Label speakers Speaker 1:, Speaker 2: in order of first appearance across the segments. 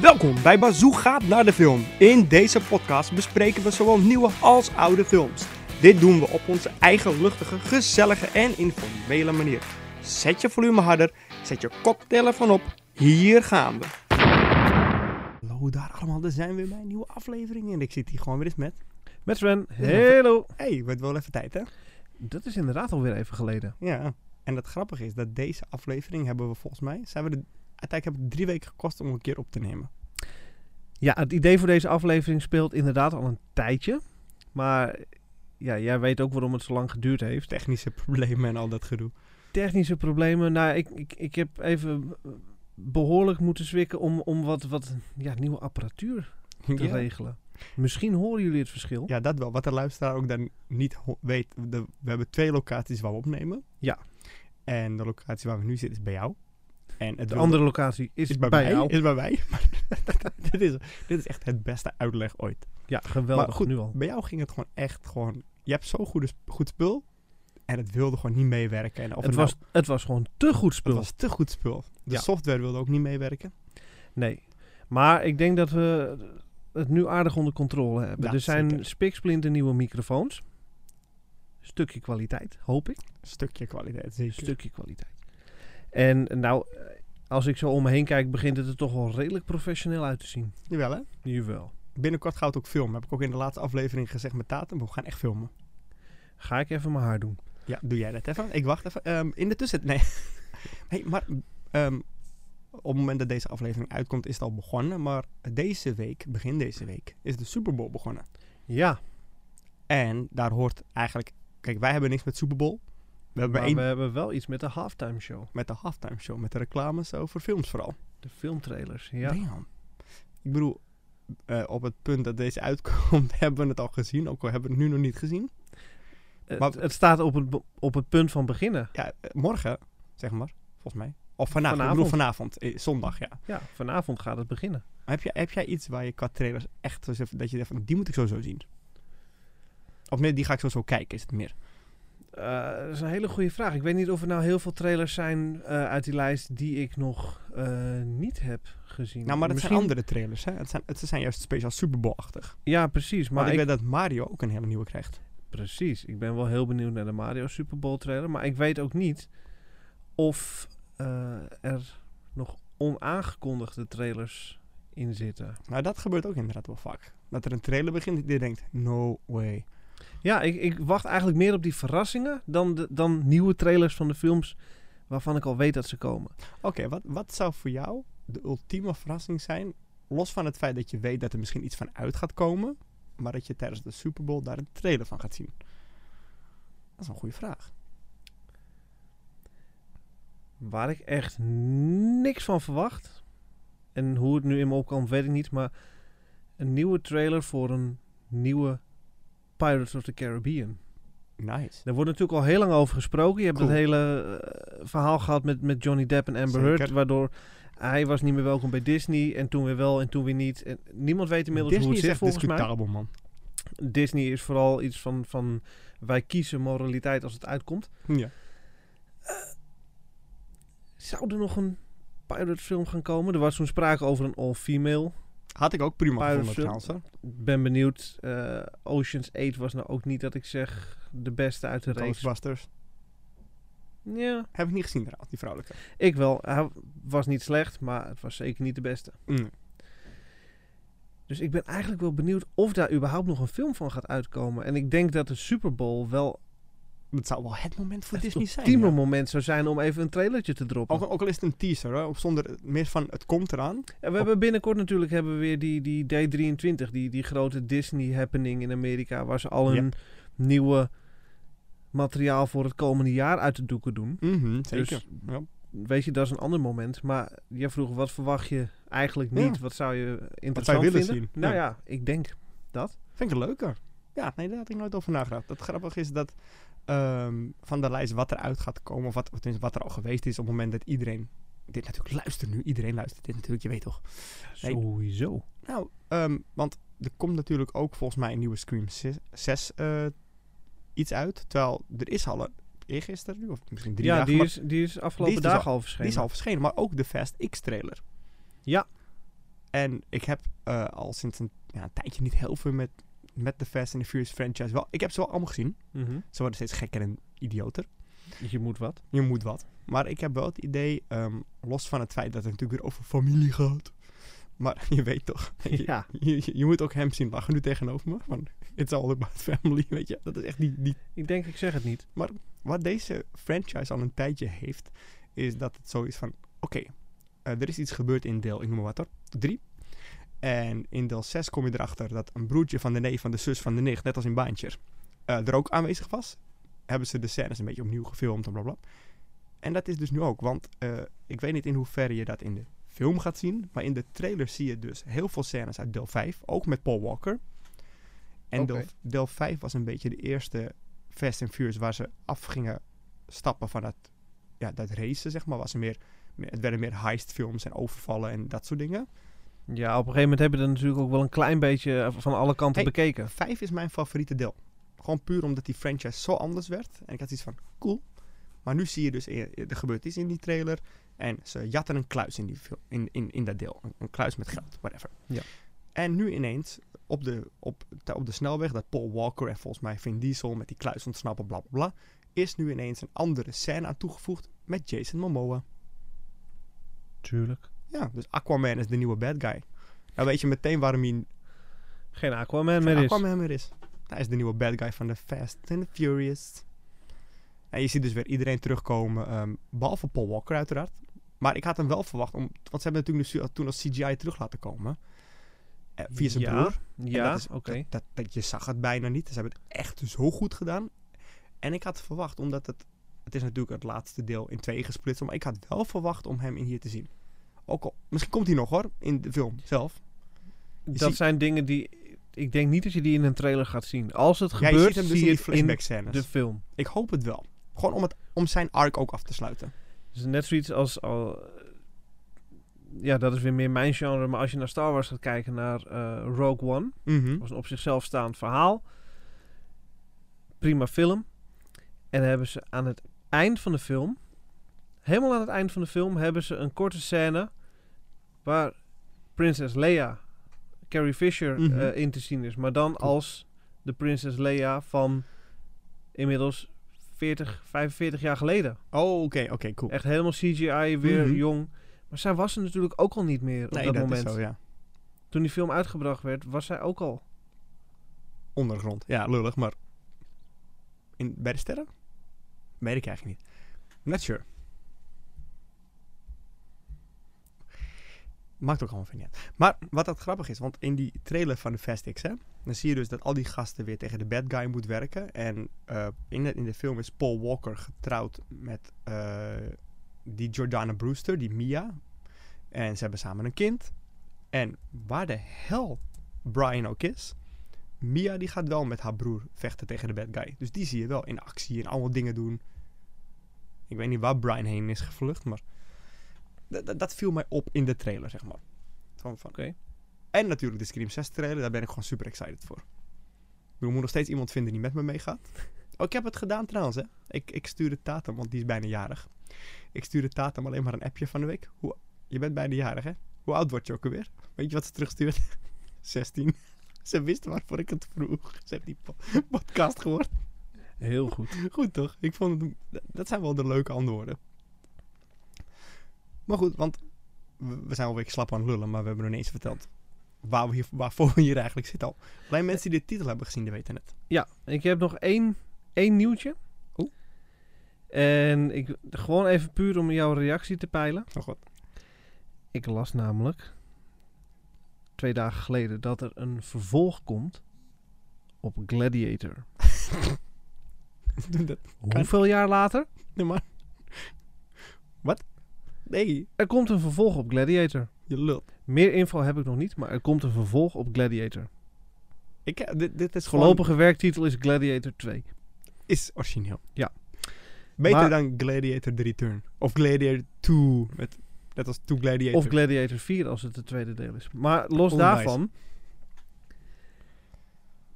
Speaker 1: Welkom bij Bazoo gaat naar de film. In deze podcast bespreken we zowel nieuwe als oude films. Dit doen we op onze eigen luchtige, gezellige en informele manier. Zet je volume harder, zet je koptelefoon op. Hier gaan we. Hallo daar allemaal, daar zijn we weer bij een nieuwe aflevering en ik zit hier gewoon weer eens met.
Speaker 2: Met Sven. Hallo.
Speaker 1: hey, wordt wel even tijd hè?
Speaker 2: Dat is inderdaad alweer even geleden.
Speaker 1: Ja. En het grappige is dat deze aflevering hebben we volgens mij, zijn we de, uiteindelijk hebben we drie weken gekost om een keer op te nemen.
Speaker 2: Ja, het idee voor deze aflevering speelt inderdaad al een tijdje. Maar ja, jij weet ook waarom het zo lang geduurd heeft.
Speaker 1: Technische problemen en al dat gedoe.
Speaker 2: Technische problemen. Nou, ik, ik, ik heb even behoorlijk moeten zwikken om, om wat, wat ja, nieuwe apparatuur te
Speaker 1: Ja.
Speaker 2: regelen. Misschien horen jullie het verschil.
Speaker 1: Ja, dat wel. Wat de luisteraar ook dan niet ho- weet. de- we hebben twee locaties waar we opnemen.
Speaker 2: Ja.
Speaker 1: En de locatie waar we nu zitten is bij jou. En het
Speaker 2: De
Speaker 1: wilde-
Speaker 2: andere locatie is,
Speaker 1: is
Speaker 2: bij,
Speaker 1: bij, mij.
Speaker 2: jou.
Speaker 1: Is bij mij. Maar dit, is, dit is echt het beste uitleg ooit.
Speaker 2: Ja, geweldig
Speaker 1: Maar goed,
Speaker 2: nu al.
Speaker 1: Bij jou ging het gewoon echt gewoon... Je hebt zo'n goede, sp- goed spul. En het wilde gewoon niet meewerken. En of
Speaker 2: het, was,
Speaker 1: nou-
Speaker 2: het was gewoon te goed
Speaker 1: het
Speaker 2: spul.
Speaker 1: was te goed spul. De
Speaker 2: Ja.
Speaker 1: software wilde ook niet meewerken.
Speaker 2: Nee. Maar ik denk dat we het nu aardig onder controle hebben.
Speaker 1: Ja,
Speaker 2: er zijn
Speaker 1: zeker.
Speaker 2: spiksplinter nieuwe microfoons. Stukje kwaliteit, hoop ik.
Speaker 1: Stukje kwaliteit, zeker.
Speaker 2: Stukje kwaliteit. En nou, eh, als ik zo om me heen kijk, begint het er toch wel redelijk professioneel uit te zien.
Speaker 1: Jawel, hè?
Speaker 2: Jawel.
Speaker 1: Binnenkort gaat het ook filmen. Heb ik ook in de laatste aflevering gezegd met Tatum. We gaan echt filmen.
Speaker 2: Ga ik even mijn haar doen.
Speaker 1: Ja, doe jij dat even? Ik wacht even. Ehm, in de tussen... Nee. nee maar ehm, op het moment dat deze aflevering uitkomt is het al begonnen. Maar deze week, begin deze week, is de Super Bowl begonnen.
Speaker 2: Ja,
Speaker 1: En daar hoort eigenlijk... Kijk, wij hebben niks met Super Bowl. We hebben
Speaker 2: maar
Speaker 1: één
Speaker 2: we hebben wel iets met de halftime show.
Speaker 1: met de halftime show, met de reclames over films vooral.
Speaker 2: De filmtrailers, ja.
Speaker 1: Damn. Ik bedoel, eh, op het punt dat deze uitkomt hebben we het al gezien. Ook al hebben we het nu nog niet gezien.
Speaker 2: Het,
Speaker 1: Maar-
Speaker 2: het staat op het, be- op het punt van beginnen.
Speaker 1: Ja, eh, morgen, zeg maar, volgens mij. Of vanavond. Ik bedoel
Speaker 2: Vanavond.
Speaker 1: vanavond, eh, zondag, ja.
Speaker 2: Ja, vanavond gaat het beginnen.
Speaker 1: Maar Heb jij, heb jij iets waar je qua trailers echt zo zegt, dat je denkt van die moet ik sowieso zien? Of nee, die ga ik sowieso kijken, is het meer.
Speaker 2: Eh, dat is een hele goede vraag. Ik weet niet of er nou heel veel trailers zijn eh, uit die lijst die ik nog eh, niet heb gezien.
Speaker 1: Nou, maar dat
Speaker 2: Misschien-
Speaker 1: zijn andere trailers, hè? Het zijn, het zijn juist speciaal Super Bowl-achtig.
Speaker 2: Ja, precies.
Speaker 1: Maar
Speaker 2: Maar
Speaker 1: ik,
Speaker 2: ik,
Speaker 1: weet dat Mario ook een hele nieuwe krijgt.
Speaker 2: precies. Ik ben wel heel benieuwd naar de Mario Super Bowl trailer. Maar ik weet ook niet of eh, er nog onaangekondigde trailers in zitten.
Speaker 1: Nou, dat gebeurt ook inderdaad wel vaak. Dat er een trailer begint die je denkt, no way.
Speaker 2: Ja, ik, ik wacht eigenlijk meer op die verrassingen dan, de, dan nieuwe trailers van de films waarvan ik al weet dat ze komen.
Speaker 1: Oké, wat, wat zou voor jou de ultieme verrassing zijn? Los van het feit dat je weet dat er misschien iets van uit gaat komen. Maar dat je tijdens de Super Bowl daar een trailer van gaat zien. Dat is een goede vraag.
Speaker 2: waar ik echt niks van verwacht. En hoe het nu in me opkomt, weet ik niet. Maar een nieuwe trailer voor een nieuwe Pirates of the Caribbean.
Speaker 1: Nice.
Speaker 2: Daar wordt natuurlijk al heel lang over gesproken. Je hebt
Speaker 1: Cool.
Speaker 2: het hele eh, verhaal gehad met, met Johnny Depp en Amber
Speaker 1: Zeker.
Speaker 2: Heard. Waardoor hij was niet meer welkom bij Disney. En toen weer wel en toen weer niet. En niemand weet inmiddels
Speaker 1: Disney
Speaker 2: hoe het
Speaker 1: is
Speaker 2: zit
Speaker 1: echt
Speaker 2: volgens mij.
Speaker 1: discutabel, man.
Speaker 2: Disney is vooral iets van, van wij kiezen moraliteit als het uitkomt.
Speaker 1: Ja.
Speaker 2: Zou er nog een pirate film gaan komen? Er was toen sprake over een all-female.
Speaker 1: Had ik ook prima
Speaker 2: Pirates
Speaker 1: gevonden trouwens. hoor.
Speaker 2: Ik ben benieuwd. Eh, Ocean's 8 was nou ook niet dat ik zeg de beste uit de race.
Speaker 1: Ghostbusters.
Speaker 2: Ja,
Speaker 1: Heb ik niet gezien trouwens, die vrouwelijke.
Speaker 2: ik wel. Hij was niet slecht, maar het was zeker niet de beste.
Speaker 1: Mm.
Speaker 2: Dus ik ben eigenlijk wel benieuwd of daar überhaupt nog een film van gaat uitkomen. En ik denk dat de Super Bowl wel
Speaker 1: Dat zou wel het moment voor
Speaker 2: het
Speaker 1: Disney zijn.
Speaker 2: ultieme
Speaker 1: ja. Oh,
Speaker 2: moment zou zijn om even een trailertje te droppen.
Speaker 1: Ook, ook al is het een teaser, hoor. Of zonder, meer van het komt eraan.
Speaker 2: En we hebben binnenkort natuurlijk hebben we weer die, die D23, die, die grote Disney-happening in Amerika, waar ze al hun nieuwe materiaal voor het komende jaar uit de doeken doen.
Speaker 1: Mhm, zeker.
Speaker 2: Dus
Speaker 1: Ja.
Speaker 2: weet je, dat is een ander moment. Maar jij vroeg, wat verwacht je eigenlijk
Speaker 1: Ja.
Speaker 2: niet? Wat zou je interessant
Speaker 1: willen
Speaker 2: vinden?
Speaker 1: zien?
Speaker 2: Nou
Speaker 1: Ja.
Speaker 2: ja. ik denk dat.
Speaker 1: Vind ik leuker. Ja, nee, daar had ik nooit over nagedacht. Het grappige is dat ehm, van de lijst wat eruit gaat komen, of wat, of tenminste wat er al geweest is op het moment dat iedereen. Dit natuurlijk luistert nu, iedereen luistert dit natuurlijk, je weet toch.
Speaker 2: Sowieso.
Speaker 1: Nou, ehm, want er komt natuurlijk ook volgens mij een nieuwe Scream 6, eh, iets uit. Terwijl er is al een, eergisteren nu, of misschien drie
Speaker 2: ja,
Speaker 1: dagen,
Speaker 2: die
Speaker 1: maar
Speaker 2: is, die is afgelopen
Speaker 1: die is dus
Speaker 2: dagen al,
Speaker 1: die
Speaker 2: verschenen.
Speaker 1: is al verschenen. Maar ook de Fast X trailer.
Speaker 2: Ja.
Speaker 1: En ik heb eh, al sinds een, ja, een tijdje niet heel veel met, met de Fast and the Furious franchise. Wel, ik heb ze wel allemaal gezien.
Speaker 2: Mhm.
Speaker 1: Ze worden steeds gekker en idioter.
Speaker 2: Dus Je moet wat.
Speaker 1: Je moet wat. Maar ik heb wel het idee, ehm, los van het feit dat het natuurlijk weer over familie gaat. Maar je weet toch, je,
Speaker 2: Ja.
Speaker 1: je, je moet ook hem zien lachen nu tegenover me. Van, it's all about family, weet je. Dat is echt die, die
Speaker 2: Ik denk, ik zeg het niet.
Speaker 1: wat deze franchise al een tijdje heeft, is dat het zo is van: oké, eh, er is iets gebeurd in deel, ik noem maar wat hoor, 3. En in deel 6 kom je erachter dat een broertje van de neef, van de zus, van de nicht, net als in Baantje, eh, er ook aanwezig was. Hebben ze de scènes een beetje opnieuw gefilmd en blablabla. En dat is dus nu ook, want eh, ik weet niet in hoeverre je dat in de film gaat zien, maar in de trailer zie je dus heel veel scènes uit deel 5, ook met Paul Walker. En
Speaker 2: Oké.
Speaker 1: deel, deel 5 was een beetje de eerste Fast and Furious waar ze af gingen stappen van dat, ja, dat racen, zeg maar. Was er meer, meer- het werden meer heistfilms en overvallen en dat soort dingen.
Speaker 2: Ja, op een gegeven moment hebben we er natuurlijk ook wel een klein beetje eh, van alle kanten
Speaker 1: Hey.
Speaker 2: bekeken.
Speaker 1: Eh, Vijf is mijn favoriete deel. Gewoon puur omdat die franchise zo anders werd. En ik had iets van, cool. Maar nu zie je dus, eh, er gebeurt iets in die trailer. En ze jatten een kluis in, die fil- in, in, in dat deel. Een, een kluis met geld, whatever.
Speaker 2: Ja.
Speaker 1: En nu ineens, op de, op, te- op de snelweg, dat Paul Walker en volgens mij Vin Diesel met die kluis ontsnappen, bla bla bla. Is nu ineens een andere scène aan toegevoegd met Jason Momoa.
Speaker 2: Tuurlijk.
Speaker 1: Ja, dus Aquaman is de nieuwe bad guy. Nou weet je meteen waarom hij
Speaker 2: Geen Aquaman meer
Speaker 1: Van
Speaker 2: is.
Speaker 1: Aquaman er is. Hij is de nieuwe bad guy van de Fast and the Furious. En je ziet dus weer iedereen terugkomen, ehm, behalve Paul Walker uiteraard. Maar ik had hem wel verwacht, om, want ze hebben natuurlijk nu, toen als CGI terug laten komen. Eh, via zijn
Speaker 2: Ja,
Speaker 1: broer. En
Speaker 2: Ja,
Speaker 1: dat is-
Speaker 2: oké.
Speaker 1: Dat, dat, je zag het bijna niet. Ze hebben het echt zo goed gedaan. En ik had verwacht, omdat het... Het is natuurlijk het laatste deel in twee gesplitst. Maar ik had wel verwacht om hem in hier te zien. Ook al, misschien komt hij nog hoor, in de film zelf.
Speaker 2: Dat
Speaker 1: ziet-
Speaker 2: zijn dingen die... Ik denk niet dat je die in een trailer gaat zien. Als het
Speaker 1: Jij
Speaker 2: gebeurt,
Speaker 1: ziet hem dus in
Speaker 2: zie
Speaker 1: die
Speaker 2: je het in
Speaker 1: flashback scènes.
Speaker 2: de film.
Speaker 1: Ik hoop het wel. Gewoon om, het, om zijn arc ook af te sluiten.
Speaker 2: Dus net zoiets als... Al, eh, ja, dat is weer meer mijn genre. Maar als je naar Star Wars gaat kijken, naar eh, Rogue One...
Speaker 1: Mhm.
Speaker 2: Dat was een op zichzelf staand verhaal. Prima film. En dan hebben ze aan het eind van de film, helemaal aan het eind van de film, hebben ze een korte scène waar prinses Leia, Carrie Fisher,
Speaker 1: Mhm.
Speaker 2: eh, in te zien is. Maar dan als de prinses Leia van inmiddels 40, 45 jaar geleden.
Speaker 1: Oh, oké, oké, cool.
Speaker 2: Echt helemaal CGI, weer
Speaker 1: Mhm.
Speaker 2: jong. Maar zij was er natuurlijk ook al niet meer op dat,
Speaker 1: is
Speaker 2: moment.
Speaker 1: zo, ja.
Speaker 2: Toen die film uitgebracht werd, was zij ook al.
Speaker 1: Ondergrond. Ja, lullig, maar... In, bij de sterren? Weet ik eigenlijk niet. Not sure. Maakt ook allemaal van niet uit. Maar wat dat grappig is, want in die trailer van de Fast X, hè, dan zie je dus dat al die gasten weer tegen de bad guy moet werken. En eh, in, de, in de film is Paul Walker getrouwd met eh, die Jordana Brewster, die Mia. En ze hebben samen een kind. En waar de hel Brian ook is, Mia die gaat wel met haar broer vechten tegen de bad guy. Dus die zie je wel in actie en allemaal dingen doen. Ik weet niet waar Brian heen is gevlucht, maar dat- dat- dat viel mij op in de trailer, zeg maar. Van, van.
Speaker 2: Oké.
Speaker 1: En natuurlijk de Scream 6 trailer, daar ben ik gewoon super excited voor. Ik bedoel, Ik moet nog steeds iemand vinden die met me meegaat. Oh, ik heb het gedaan trouwens, hè. Ik, ik stuurde Tatum, want die is bijna jarig. Ik stuurde Tatum alleen maar een appje van de week. Hoe, je bent bijna jarig, hè? Hoe oud word je ook alweer? Weet je wat ze terugstuurt? 16. Ze wist waarvoor ik het vroeg. Ze heeft die po- podcast gehoord.
Speaker 2: Heel goed.
Speaker 1: Goed toch? Ik vond het, dat zijn wel de leuke antwoorden. Maar goed, want we we zijn alweer slap aan het lullen, maar we hebben nog niet eens verteld waar we hier, waarvoor we hier eigenlijk zitten al. Alleen mensen die de titel hebben gezien, die weten het.
Speaker 2: Ja, ik heb nog één, één nieuwtje.
Speaker 1: Oeh.
Speaker 2: En ik, gewoon even puur om jouw reactie te peilen.
Speaker 1: Oh god.
Speaker 2: Ik las namelijk twee dagen geleden dat er een vervolg komt op Gladiator.
Speaker 1: Doe dat
Speaker 2: Hoeveel jaar later?
Speaker 1: nu maar. Wat? Nee,
Speaker 2: Er komt een vervolg op Gladiator.
Speaker 1: je lult.
Speaker 2: Meer info heb ik nog niet, maar er komt een vervolg op Gladiator.
Speaker 1: Ik, eh, dit, dit is gewoon...
Speaker 2: Voorlopige werktitel is Gladiator 2.
Speaker 1: Is origineel.
Speaker 2: Ja.
Speaker 1: Beter
Speaker 2: Maar-
Speaker 1: dan Gladiator The Return. Of Gladiator 2. Met, net als 2 Gladiator.
Speaker 2: Of Gladiator 4 als het de tweede deel is. Maar los
Speaker 1: Onwijs.
Speaker 2: daarvan.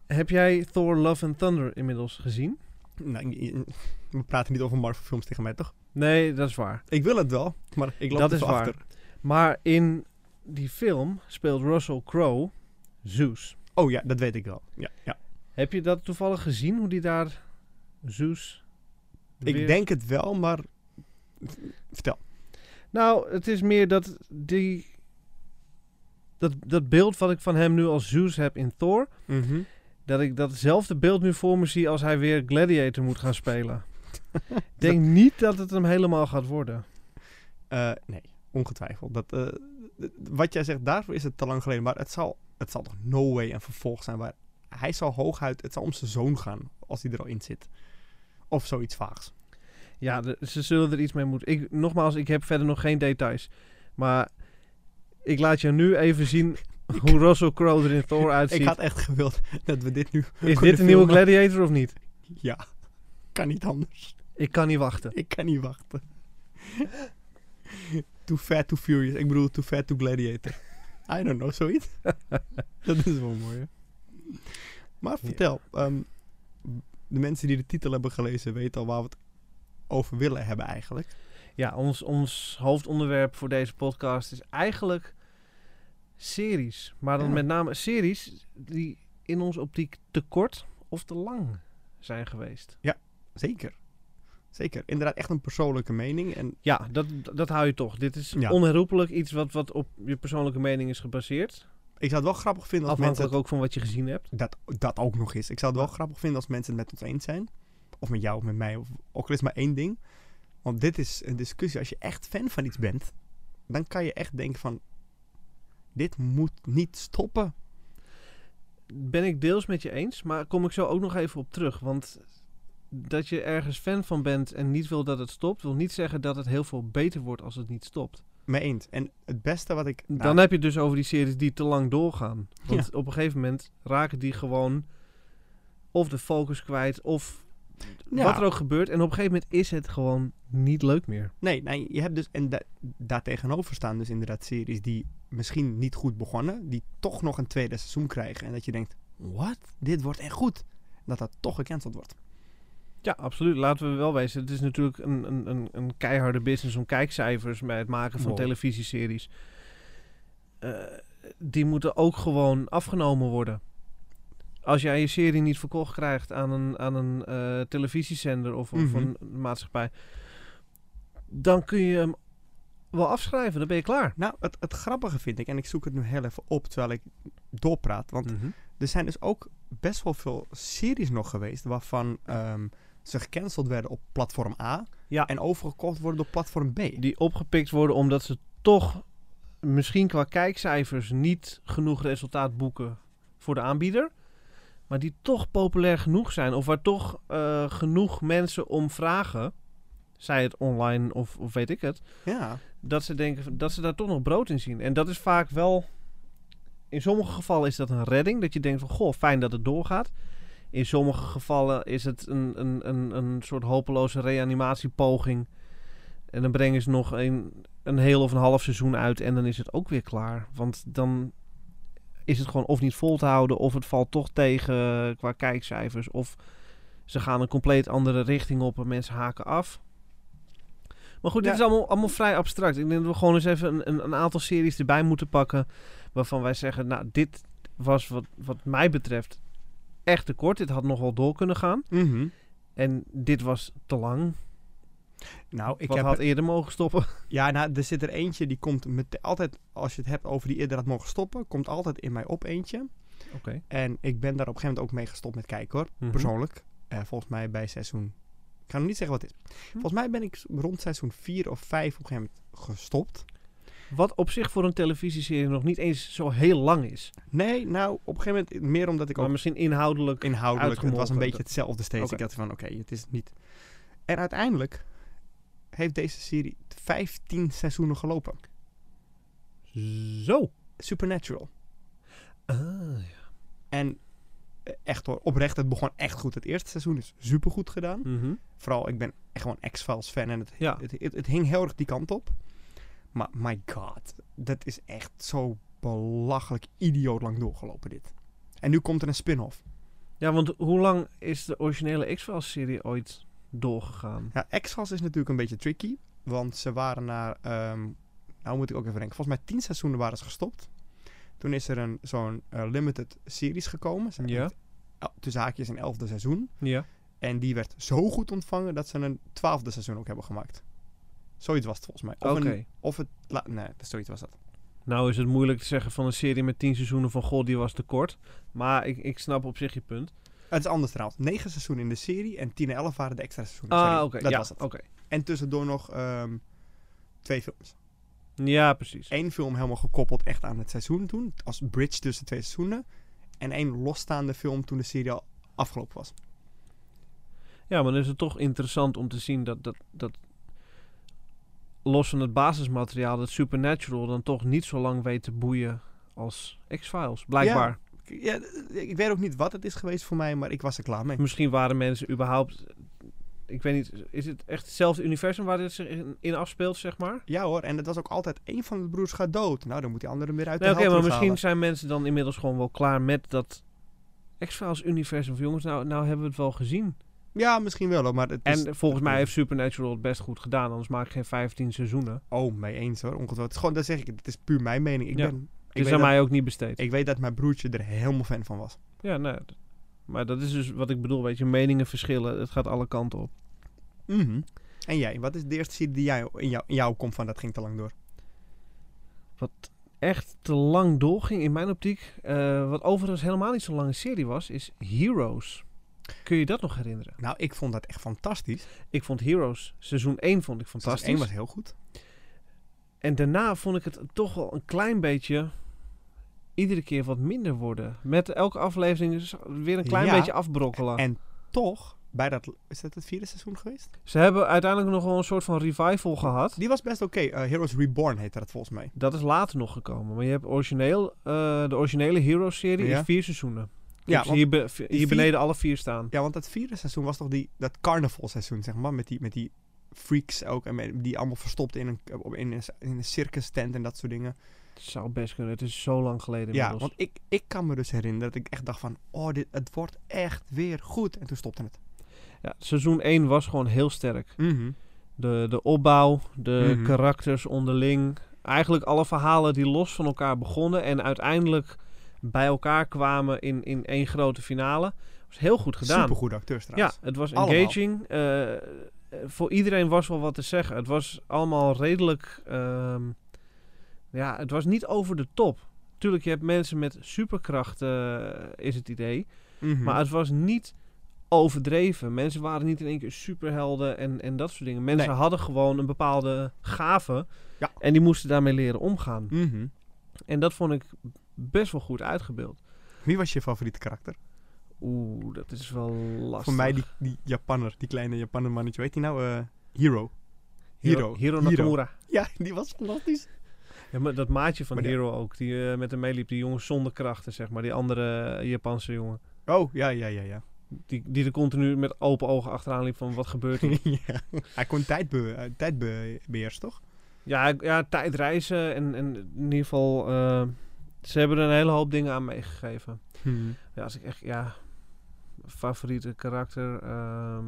Speaker 2: Heb jij Thor Love and Thunder inmiddels gezien?
Speaker 1: Nou, ik- ik- we praten niet over Marvel films tegen mij, toch?
Speaker 2: Nee, dat is waar.
Speaker 1: Ik wil het wel, maar ik loop
Speaker 2: Dat
Speaker 1: er
Speaker 2: is
Speaker 1: zo
Speaker 2: waar.
Speaker 1: achter.
Speaker 2: Maar in die film speelt Russell Crowe Zeus.
Speaker 1: Oh ja, dat weet ik wel. Ja, ja.
Speaker 2: Heb je dat toevallig gezien, hoe die daar Zeus...
Speaker 1: Ik
Speaker 2: weer-
Speaker 1: denk het wel, maar vertel.
Speaker 2: Nou, het is meer dat die... Dat, dat beeld wat ik van hem nu als Zeus heb in Thor... Mhm. dat ik datzelfde beeld nu voor me zie als hij weer Gladiator moet gaan spelen. Ik denk niet dat het hem helemaal gaat worden.
Speaker 1: Eh, nee, ongetwijfeld. Dat, eh, d- wat jij zegt, daarvoor is het te lang geleden. Maar het zal, het zal toch no way een vervolg zijn waar... Hij zal hooguit, het zal om zijn zoon gaan als hij er al in zit. Of zoiets vaags.
Speaker 2: Ja, de- ze zullen er iets mee moeten. Ik, nogmaals, ik heb verder nog geen details. Maar ik laat je nu even zien hoe Russell Crowe er in Thor
Speaker 1: Ik
Speaker 2: uitziet.
Speaker 1: had echt gewild dat we dit nu...
Speaker 2: Is
Speaker 1: kunnen
Speaker 2: dit een nieuwe
Speaker 1: filmen.
Speaker 2: Gladiator of niet?
Speaker 1: Ja, kan niet anders.
Speaker 2: Ik kan niet wachten.
Speaker 1: Ik kan niet wachten. too fat, too furious. Ik bedoel, too fat, too gladiator. I don't know, zoiets. dat is wel mooi, hè? Maar
Speaker 2: Ja.
Speaker 1: vertel, ehm, de mensen die de titel hebben gelezen weten al waar we het over willen hebben eigenlijk.
Speaker 2: Ja, ons, ons hoofdonderwerp voor deze podcast is eigenlijk series. Maar dan
Speaker 1: Ja.
Speaker 2: met name series die in ons optiek te kort of te lang zijn geweest.
Speaker 1: Zeker. Zeker. Inderdaad, echt een persoonlijke mening. En
Speaker 2: Ja, dat, dat hou je toch. Dit is
Speaker 1: Ja.
Speaker 2: onherroepelijk iets wat, wat op je persoonlijke mening is gebaseerd.
Speaker 1: ik zou het wel grappig vinden als mensen...
Speaker 2: Afhankelijk ook van wat je gezien hebt.
Speaker 1: dat, dat ook nog is. Ik zou het wel grappig vinden als mensen het met ons eens zijn. Of met jou, of met mij. Of ook al is maar één ding. Want dit is een discussie. Als je echt fan van iets bent, dan kan je echt denken van... Dit moet niet stoppen.
Speaker 2: Ben ik deels met je eens, maar kom ik zo ook nog even op terug. Want dat je ergens fan van bent en niet wil dat het stopt, wil niet zeggen dat het heel veel beter wordt als het niet stopt.
Speaker 1: Mee eens. En het beste wat ik... nou,
Speaker 2: Dan heb je het dus over die series die te lang doorgaan. Want op een gegeven moment raken die gewoon of de focus kwijt of
Speaker 1: Ja.
Speaker 2: wat er ook gebeurt. En op een gegeven moment is het gewoon niet leuk meer.
Speaker 1: Nee, nee, je hebt dus... En da daar tegenover staan dus inderdaad series die misschien niet goed begonnen. Die toch nog een tweede seizoen krijgen. En dat je denkt, wat? Dit wordt echt goed. En dat dat toch gecanceld wordt.
Speaker 2: Ja, absoluut. Laten we wel wezen. Het is natuurlijk een, een, een, een keiharde business om kijkcijfers bij het maken van
Speaker 1: Wow.
Speaker 2: televisieseries. Eh, die moeten ook gewoon afgenomen worden. Als jij je serie niet verkocht krijgt aan een, aan een eh, televisiezender of, of
Speaker 1: Mhm.
Speaker 2: een maatschappij, dan kun je hem wel afschrijven. Dan ben je klaar.
Speaker 1: Nou, het, het grappige vind ik, en ik zoek het nu heel even op terwijl ik doorpraat. Want er zijn dus ook best wel veel series nog geweest waarvan ehm, ze gecanceld werden op platform A.
Speaker 2: Ja.
Speaker 1: En overgekocht worden door platform B.
Speaker 2: Die opgepikt worden omdat ze toch misschien qua kijkcijfers niet genoeg resultaat boeken voor de aanbieder. Maar die toch populair genoeg zijn. Of waar toch eh, genoeg mensen om vragen. Zij het online of, of weet ik het.
Speaker 1: Ja.
Speaker 2: Dat ze denken van- dat ze daar toch nog brood in zien. En dat is vaak wel. In sommige gevallen is dat een redding. Dat je denkt van goh, fijn dat het doorgaat. In sommige gevallen is het een, een, een, een soort hopeloze reanimatiepoging. En dan brengen ze nog een, een heel of een half seizoen uit. En dan is het ook weer klaar. Want dan is het gewoon of niet vol te houden. Of het valt toch tegen qua kijkcijfers. Of ze gaan een compleet andere richting op. En mensen haken af. Maar goed, dit
Speaker 1: Ja.
Speaker 2: is allemaal, allemaal vrij abstract. Ik denk dat we gewoon eens even een, een, een aantal series erbij moeten pakken. Waarvan wij zeggen, nou, dit was wat, wat mij betreft echt te kort. Dit had nog wel door kunnen gaan.
Speaker 1: Mhm.
Speaker 2: En dit was te lang.
Speaker 1: Nou, ik
Speaker 2: wat
Speaker 1: heb...
Speaker 2: had eerder mogen stoppen.
Speaker 1: Ja, nou, er zit er eentje die komt met, altijd, als je het hebt over die eerder had mogen stoppen, komt altijd in mij op eentje.
Speaker 2: Oké.
Speaker 1: En ik ben daar op een gegeven moment ook mee gestopt met kijken hoor.
Speaker 2: Mhm.
Speaker 1: Persoonlijk. Eh, volgens mij bij seizoen. Ik ga nog niet zeggen wat het is.
Speaker 2: Mhm.
Speaker 1: Volgens mij ben ik s- rond seizoen 4 of 5 op een gegeven moment gestopt.
Speaker 2: Wat op zich voor een televisieserie nog niet eens zo heel lang is.
Speaker 1: Nee, nou, op een gegeven moment meer omdat ik ook
Speaker 2: Maar misschien inhoudelijk.
Speaker 1: inhoudelijk. Het was een
Speaker 2: uitgemolken.
Speaker 1: beetje hetzelfde steeds.
Speaker 2: Oké.
Speaker 1: Ik dacht van, oké, het is niet... En uiteindelijk heeft deze serie 15 seizoenen gelopen.
Speaker 2: Zo.
Speaker 1: Supernatural.
Speaker 2: Ah, ja.
Speaker 1: En eh, echt hoor, oprecht, het begon echt goed. Het eerste seizoen is supergoed gedaan.
Speaker 2: Mhm.
Speaker 1: Vooral, ik ben echt gewoon X-Files fan en het,
Speaker 2: Ja.
Speaker 1: het, het, het hing heel erg die kant op. Maar my god, dat is echt zo belachelijk idioot lang doorgelopen dit. En nu komt er een spin-off.
Speaker 2: ja, want hoe lang is de originele X-Files-serie ooit doorgegaan?
Speaker 1: Ja, X-Files is natuurlijk een beetje tricky. Want ze waren naar ehm, nou moet ik ook even denken, volgens mij tien seizoenen waren ze gestopt. Toen is er een, zo'n eh, limited series gekomen. Ze-
Speaker 2: Ja.
Speaker 1: el- Tussen haakjes een elfde seizoen.
Speaker 2: Ja.
Speaker 1: En die werd zo goed ontvangen dat ze een twaalfde seizoen ook hebben gemaakt. Zoiets was het volgens mij.
Speaker 2: Oké.
Speaker 1: Of, een, of het... la- nee, zoiets was dat.
Speaker 2: Nou is het moeilijk te zeggen van een serie met 10 seizoenen van God, die was te kort. Maar ik, ik snap op zich je punt.
Speaker 1: Het is anders trouwens. Negen seizoenen in de serie en tien en elf waren de extra seizoenen.
Speaker 2: Ah,
Speaker 1: Sorry,
Speaker 2: oké.
Speaker 1: Dat
Speaker 2: ja,
Speaker 1: was het.
Speaker 2: Oké.
Speaker 1: En tussendoor nog ehm, twee films.
Speaker 2: Ja, precies.
Speaker 1: Eén film helemaal gekoppeld echt aan het seizoen toen. Als bridge tussen twee seizoenen. En één losstaande film toen de serie al afgelopen was.
Speaker 2: Ja, maar dan is het toch interessant om te zien dat, dat, dat los van het basismateriaal, dat Supernatural dan toch niet zo lang weet te boeien als X-Files. Blijkbaar.
Speaker 1: Ik- Ja, d- ik weet ook niet wat het is geweest voor mij, maar ik was er klaar mee.
Speaker 2: Misschien waren mensen überhaupt. Ik weet niet, is het echt hetzelfde universum waar dit zich in, in afspeelt, zeg maar?
Speaker 1: Ja hoor, en het was ook altijd één van de broers gaat dood. Nou, dan moet die andere weer uit
Speaker 2: Nee,
Speaker 1: de
Speaker 2: oké,
Speaker 1: hel
Speaker 2: maar
Speaker 1: terughalen.
Speaker 2: misschien zijn mensen dan inmiddels gewoon wel klaar met dat X-Files universum. Van jongens, nou, nou hebben we het wel gezien.
Speaker 1: Ja, misschien wel hoor, maar het is...
Speaker 2: En volgens mij heeft Supernatural het best goed gedaan, anders maak ik geen 15 seizoenen.
Speaker 1: Oh, mee eens hoor, ongetwijfeld. Het is Gewoon, dat zeg ik, het is puur mijn mening. Ik,
Speaker 2: Ja. Dus
Speaker 1: ben,
Speaker 2: Het
Speaker 1: ik,
Speaker 2: is
Speaker 1: weet
Speaker 2: aan
Speaker 1: dat,
Speaker 2: mij ook niet besteed.
Speaker 1: ik weet dat mijn broertje er helemaal fan van was.
Speaker 2: Ja, nou, ja, d- maar dat is dus wat ik bedoel, weet je, meningen verschillen, het gaat alle kanten op.
Speaker 1: Mhm. En jij, wat is de eerste serie die jij in jou, in jou komt van dat ging te lang door?
Speaker 2: Wat echt te lang doorging in mijn optiek, eh, wat overigens helemaal niet zo'n lange serie was, is Heroes. Kun je dat nog herinneren?
Speaker 1: Nou, ik vond dat echt fantastisch.
Speaker 2: Ik vond Heroes, seizoen 1 vond ik
Speaker 1: Fantastisch.
Speaker 2: fantastisch.
Speaker 1: Eén was heel goed.
Speaker 2: En daarna vond ik het toch wel een klein beetje iedere keer wat minder worden. Met elke aflevering is weer een klein
Speaker 1: Ja.
Speaker 2: beetje afbrokkelen.
Speaker 1: En toch, bij dat, is dat het vierde seizoen geweest?
Speaker 2: Ze hebben uiteindelijk nog wel een soort van revival gehad.
Speaker 1: Die was best oké. Eh, Heroes Reborn heette dat volgens mij.
Speaker 2: Dat is later nog gekomen. Maar je hebt origineel, eh, de originele Heroes-serie
Speaker 1: Ja.
Speaker 2: is vier seizoenen.
Speaker 1: Ja,
Speaker 2: Ja, ik zie
Speaker 1: want
Speaker 2: hier, be- hier
Speaker 1: vier-
Speaker 2: beneden alle vier staan.
Speaker 1: Ja, want dat vierde seizoen was toch die, dat carnavalseizoen, zeg maar. Met die, met die freaks ook. En met- die allemaal verstopt in een, in, een, in een circus tent en dat soort dingen.
Speaker 2: Het zou best kunnen. Het is zo lang geleden
Speaker 1: Ja,
Speaker 2: inmiddels.
Speaker 1: want ik, ik kan me dus herinneren dat ik echt dacht van... Oh, dit, het wordt echt weer goed. En toen stopte het.
Speaker 2: Ja, seizoen 1 was gewoon heel sterk.
Speaker 1: Mhm.
Speaker 2: De, de opbouw, de
Speaker 1: Mhm.
Speaker 2: karakters onderling. Eigenlijk alle verhalen die los van elkaar begonnen en uiteindelijk bij elkaar kwamen in, in één grote finale. was heel goed gedaan.
Speaker 1: Supergoede acteurs
Speaker 2: Ja,
Speaker 1: trouwens.
Speaker 2: het was
Speaker 1: Allemaal.
Speaker 2: engaging. eh, eh, voor iedereen was wel wat te zeggen. Het was allemaal redelijk. ehm, ja, het was niet over de top. Tuurlijk, je hebt mensen met superkrachten, eh, is het idee.
Speaker 1: Mhm.
Speaker 2: Maar het was niet overdreven. Mensen waren niet in één keer superhelden en, en dat soort dingen. Mensen
Speaker 1: Nee.
Speaker 2: hadden gewoon een bepaalde gave.
Speaker 1: Ja.
Speaker 2: En die moesten daarmee leren omgaan.
Speaker 1: Mhm.
Speaker 2: En dat vond ik best wel goed uitgebeeld.
Speaker 1: Wie was je favoriete karakter?
Speaker 2: Oeh, dat is wel lastig.
Speaker 1: Voor mij die, die Japanner. Die kleine Japanner mannetje. Weet die nou? eh, Hero. Hero.
Speaker 2: Hero, Hero Nakamura.
Speaker 1: Ja, die was fantastisch.
Speaker 2: Ja, maar dat maatje van
Speaker 1: Maar die-
Speaker 2: Hero ook, die eh, met hem meeliep, die jongen zonder krachten, zeg maar. Die andere eh, Japanse jongen.
Speaker 1: Oh, ja, ja, ja, ja.
Speaker 2: Die, die er continu met open ogen achteraan liep van, wat gebeurt er?
Speaker 1: ja. Hij kon tijd, be, eh, tijd be- beheersen, toch?
Speaker 2: ja, ik- ja, tijdreizen en, en in ieder geval... eh, ze hebben er een hele hoop dingen aan meegegeven.
Speaker 1: Mhm.
Speaker 2: Ja, als ik echt, ja... Favoriete karakter. ehm,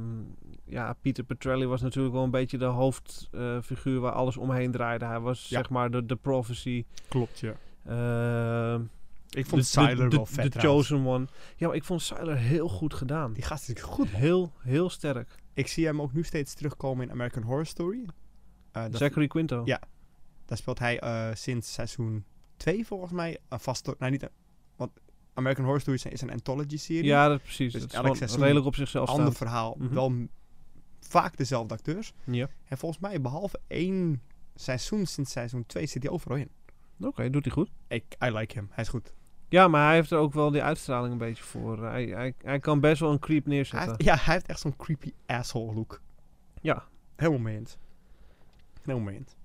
Speaker 2: ja, Peter Petrelli was natuurlijk wel een beetje de hoofdfiguur waar alles omheen draaide. Hij was
Speaker 1: Ja.
Speaker 2: zeg maar de, de prophecy.
Speaker 1: Klopt, ja.
Speaker 2: ehm,
Speaker 1: Ik vond
Speaker 2: de-
Speaker 1: Siler
Speaker 2: de, de,
Speaker 1: wel vet
Speaker 2: De
Speaker 1: trouwens.
Speaker 2: Chosen One. Ja, maar ik vond Siler heel goed gedaan.
Speaker 1: Die gast is goed.
Speaker 2: Heel, heel sterk.
Speaker 1: Ik zie hem ook nu steeds terugkomen in American Horror Story. Eh, dat,
Speaker 2: Zachary Quinto.
Speaker 1: Ja. Daar speelt hij eh, sinds seizoen 2 volgens mij een vaste... Nou, niet... een- want American Horror Story is een- is een anthology-serie.
Speaker 2: Ja, dat, precies.
Speaker 1: Dus
Speaker 2: dat is
Speaker 1: elk
Speaker 2: gewoon
Speaker 1: seizoen
Speaker 2: redelijk op zichzelf
Speaker 1: Ander
Speaker 2: staan.
Speaker 1: verhaal.
Speaker 2: Mhm.
Speaker 1: Wel m- vaak dezelfde acteurs.
Speaker 2: Ja.
Speaker 1: En volgens mij, behalve één seizoen sinds seizoen 2, zit hij overal in.
Speaker 2: Oké, doet hij goed.
Speaker 1: Ik, I like him. Hij is goed.
Speaker 2: Ja, maar hij heeft er ook wel die uitstraling een beetje voor. Eh, Hij, hij, hij kan best wel een creep
Speaker 1: Hij
Speaker 2: neerzetten.
Speaker 1: heeft, ja, hij heeft echt zo'n creepy asshole look.
Speaker 2: eh? Ja.
Speaker 1: Helemaal mee eens. Helemaal mee eens.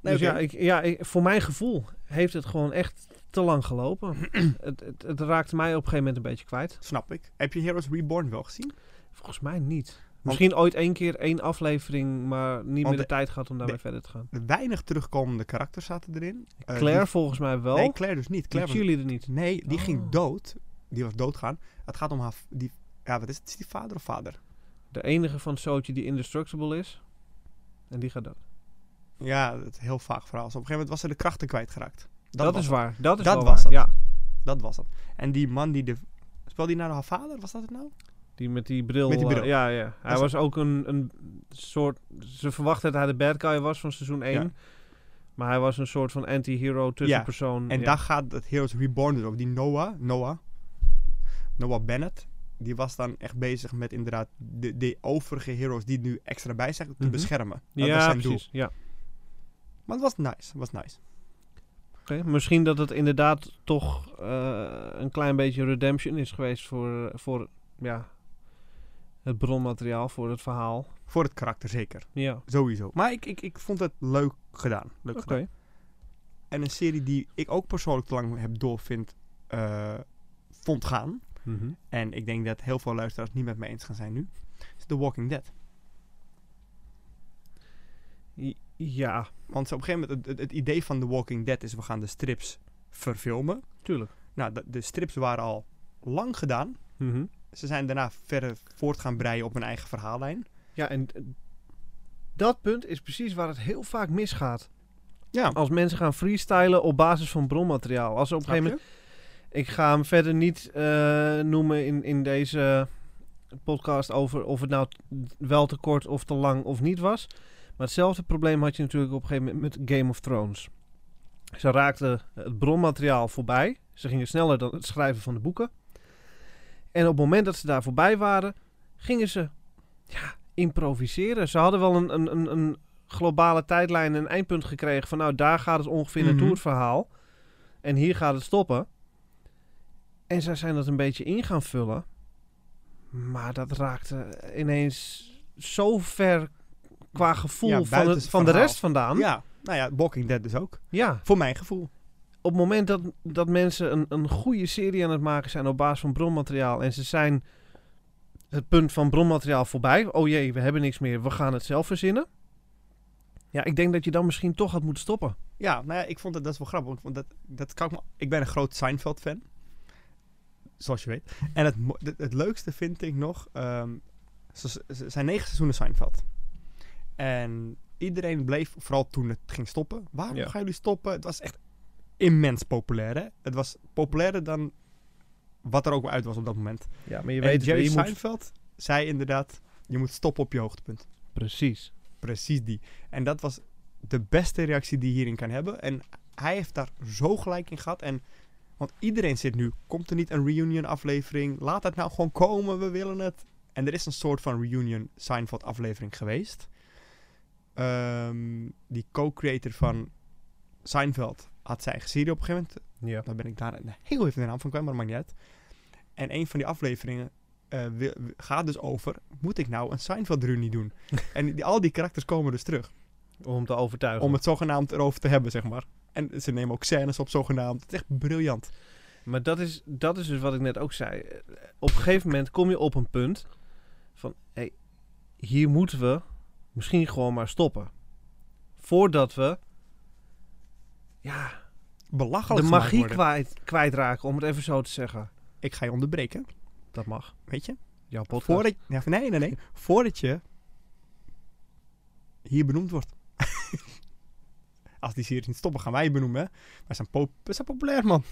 Speaker 1: Nee,
Speaker 2: dus
Speaker 1: oké.
Speaker 2: ja, ik, ja ik- voor mijn gevoel heeft het gewoon echt te lang gelopen. het, het, het raakte mij op een gegeven moment een beetje kwijt.
Speaker 1: Snap ik. Heb je Heroes Reborn wel gezien?
Speaker 2: Volgens mij niet. Misschien ooit één keer één aflevering, maar niet meer
Speaker 1: Want
Speaker 2: de,
Speaker 1: de-
Speaker 2: tijd gehad om daarmee verder te gaan.
Speaker 1: De weinig terugkomende karakters zaten erin. Eh,
Speaker 2: Claire
Speaker 1: die-
Speaker 2: volgens mij wel.
Speaker 1: Nee, Claire dus niet.
Speaker 2: Die
Speaker 1: Claire was-
Speaker 2: jullie er niet.
Speaker 1: nee, die ging
Speaker 2: Oh.
Speaker 1: dood. Die was doodgaan. Het gaat om haar... v- Die, ja, wat is het? Is die vader of vader?
Speaker 2: De enige van het zootje die indestructible is. En die gaat dood.
Speaker 1: Ja, het heel vaag verhaal. Dus op een gegeven moment was ze de krachten kwijtgeraakt.
Speaker 2: Dat,
Speaker 1: was
Speaker 2: is
Speaker 1: het.
Speaker 2: waar. Dat is
Speaker 1: Dat
Speaker 2: wel
Speaker 1: was het.
Speaker 2: waar. Ja,
Speaker 1: Dat was het. En die man die de... Speelde hij naar haar vader? Was dat het nou?
Speaker 2: die met die bril.
Speaker 1: Met die
Speaker 2: eh,
Speaker 1: bril.
Speaker 2: ja, ja. Hij
Speaker 1: is-
Speaker 2: was ook een, een soort... Ze verwachten dat hij de bad guy was van seizoen 1.
Speaker 1: Ja.
Speaker 2: Maar hij was een soort van anti-hero tussenpersoon.
Speaker 1: En
Speaker 2: ja.
Speaker 1: daar gaat het Heroes Reborn dus over. Die Noah, Noah, Noah Bennett, die was dan echt bezig met inderdaad de, de overige heroes die nu extra bij zijn, te
Speaker 2: Mhm.
Speaker 1: beschermen. Dat
Speaker 2: ja,
Speaker 1: was zijn
Speaker 2: precies. Ja.
Speaker 1: doel. Maar het was nice, was nice.
Speaker 2: Oké, Misschien dat het inderdaad toch eh, een klein beetje redemption is geweest voor, voor ja, het bronmateriaal, voor het verhaal.
Speaker 1: Voor het karakter zeker,
Speaker 2: Ja, oké.
Speaker 1: sowieso. Maar ik, ik, ik vond het leuk gedaan. Leuk gedaan. En een serie die ik ook persoonlijk te lang heb door vind, eh, vond gaan. En ik denk dat heel veel luisteraars het niet met me eens gaan zijn nu. Is The Walking Dead.
Speaker 2: I- Ja,
Speaker 1: Want op een gegeven moment, het, het, het idee van The Walking Dead is we gaan de strips verfilmen.
Speaker 2: tuurlijk.
Speaker 1: Nou, de, de strips waren al lang gedaan.
Speaker 2: Mhm.
Speaker 1: Ze zijn daarna verder voort gaan breien op hun eigen verhaallijn.
Speaker 2: Ja, en eh, dat punt is precies waar het heel vaak misgaat.
Speaker 1: Ja.
Speaker 2: Als mensen gaan freestylen op basis van bronmateriaal. Als ze op een gegeven moment Ik ga hem verder niet eh, noemen in, in deze podcast over of het nou t- wel te kort of te lang of niet was. Maar hetzelfde probleem had je natuurlijk op een gegeven moment met Game of Thrones. Ze raakten het bronmateriaal voorbij. Ze gingen sneller dan het schrijven van de boeken. En op het moment dat ze daar voorbij waren, gingen ze ja, improviseren. Ze hadden wel een, een, een, een globale tijdlijn, een eindpunt gekregen van nou daar gaat het ongeveer naartoe
Speaker 1: Mhm.
Speaker 2: het verhaal. En hier gaat het stoppen. En zij zijn dat een beetje in gaan vullen. Maar dat raakte ineens zo ver qua gevoel
Speaker 1: Ja,
Speaker 2: van,
Speaker 1: buiten
Speaker 2: het,
Speaker 1: het
Speaker 2: van de
Speaker 1: verhaal.
Speaker 2: rest vandaan.
Speaker 1: Ja, nou ja, Walking Dead dus ook.
Speaker 2: ja.
Speaker 1: Voor mijn gevoel.
Speaker 2: Op het moment dat, dat mensen een, een goede serie aan het maken zijn op basis van bronmateriaal. En ze zijn het punt van bronmateriaal voorbij. Oh jee, we hebben niks meer. We gaan het zelf verzinnen. Ja, ik denk dat je dan misschien toch had moeten stoppen.
Speaker 1: Ja, nou ja, ik vond dat, dat is wel grappig. Want dat, dat kan ik, me, ik ben een groot Seinfeld-fan. Zoals je weet. En het, mo- het, het leukste vind ik nog... ehm, ze- ze- ze zijn negen seizoenen Seinfeld. En iedereen bleef, vooral toen het ging stoppen... Waarom
Speaker 2: Ja.
Speaker 1: gaan jullie stoppen? Het was echt immens populair, hè? Het was populairder dan wat er ook uit was op dat moment.
Speaker 2: Ja, maar je
Speaker 1: en Jerry Seinfeld zei inderdaad... Je moet stoppen op je hoogtepunt.
Speaker 2: Precies.
Speaker 1: Precies die. En dat was de beste reactie die je hierin kan hebben. En hij heeft daar zo gelijk in gehad. En, want iedereen zit nu. Komt er niet een reunion aflevering? Laat het nou gewoon komen. We willen het. En er is een soort van reunion Seinfeld aflevering geweest. Ehm, die co-creator van Seinfeld had zijn eigen serie op een gegeven moment.
Speaker 2: Ja.
Speaker 1: Dan ben ik daar een heel even de naam van kwijt, maar dat maakt niet uit. En een van die afleveringen eh, wi- wi- gaat dus over... moet ik nou een Seinfeld-reunie doen? en die, al die karakters komen dus terug.
Speaker 2: Om te overtuigen.
Speaker 1: Om het zogenaamd erover te hebben, zeg maar. En ze nemen ook scènes op zogenaamd. Het is echt briljant.
Speaker 2: Maar dat is, dat is dus wat ik net ook zei. Eh, Op een gegeven moment kom je op een punt van... Hé, hier moeten we misschien gewoon maar stoppen. Voordat we... Ja, de
Speaker 1: Belachelijk gemaakt
Speaker 2: magie
Speaker 1: worden.
Speaker 2: kwijt, kwijtraken, om het even zo te zeggen.
Speaker 1: Ik ga je onderbreken,
Speaker 2: Dat mag.
Speaker 1: weet je.
Speaker 2: Jouw podcast.
Speaker 1: Voordat, ja, nee, nee, nee. Voordat je hier benoemd wordt. Als die series niet stoppen, gaan wij je benoemen. hè. Wij zijn, pop- we zijn populair, man.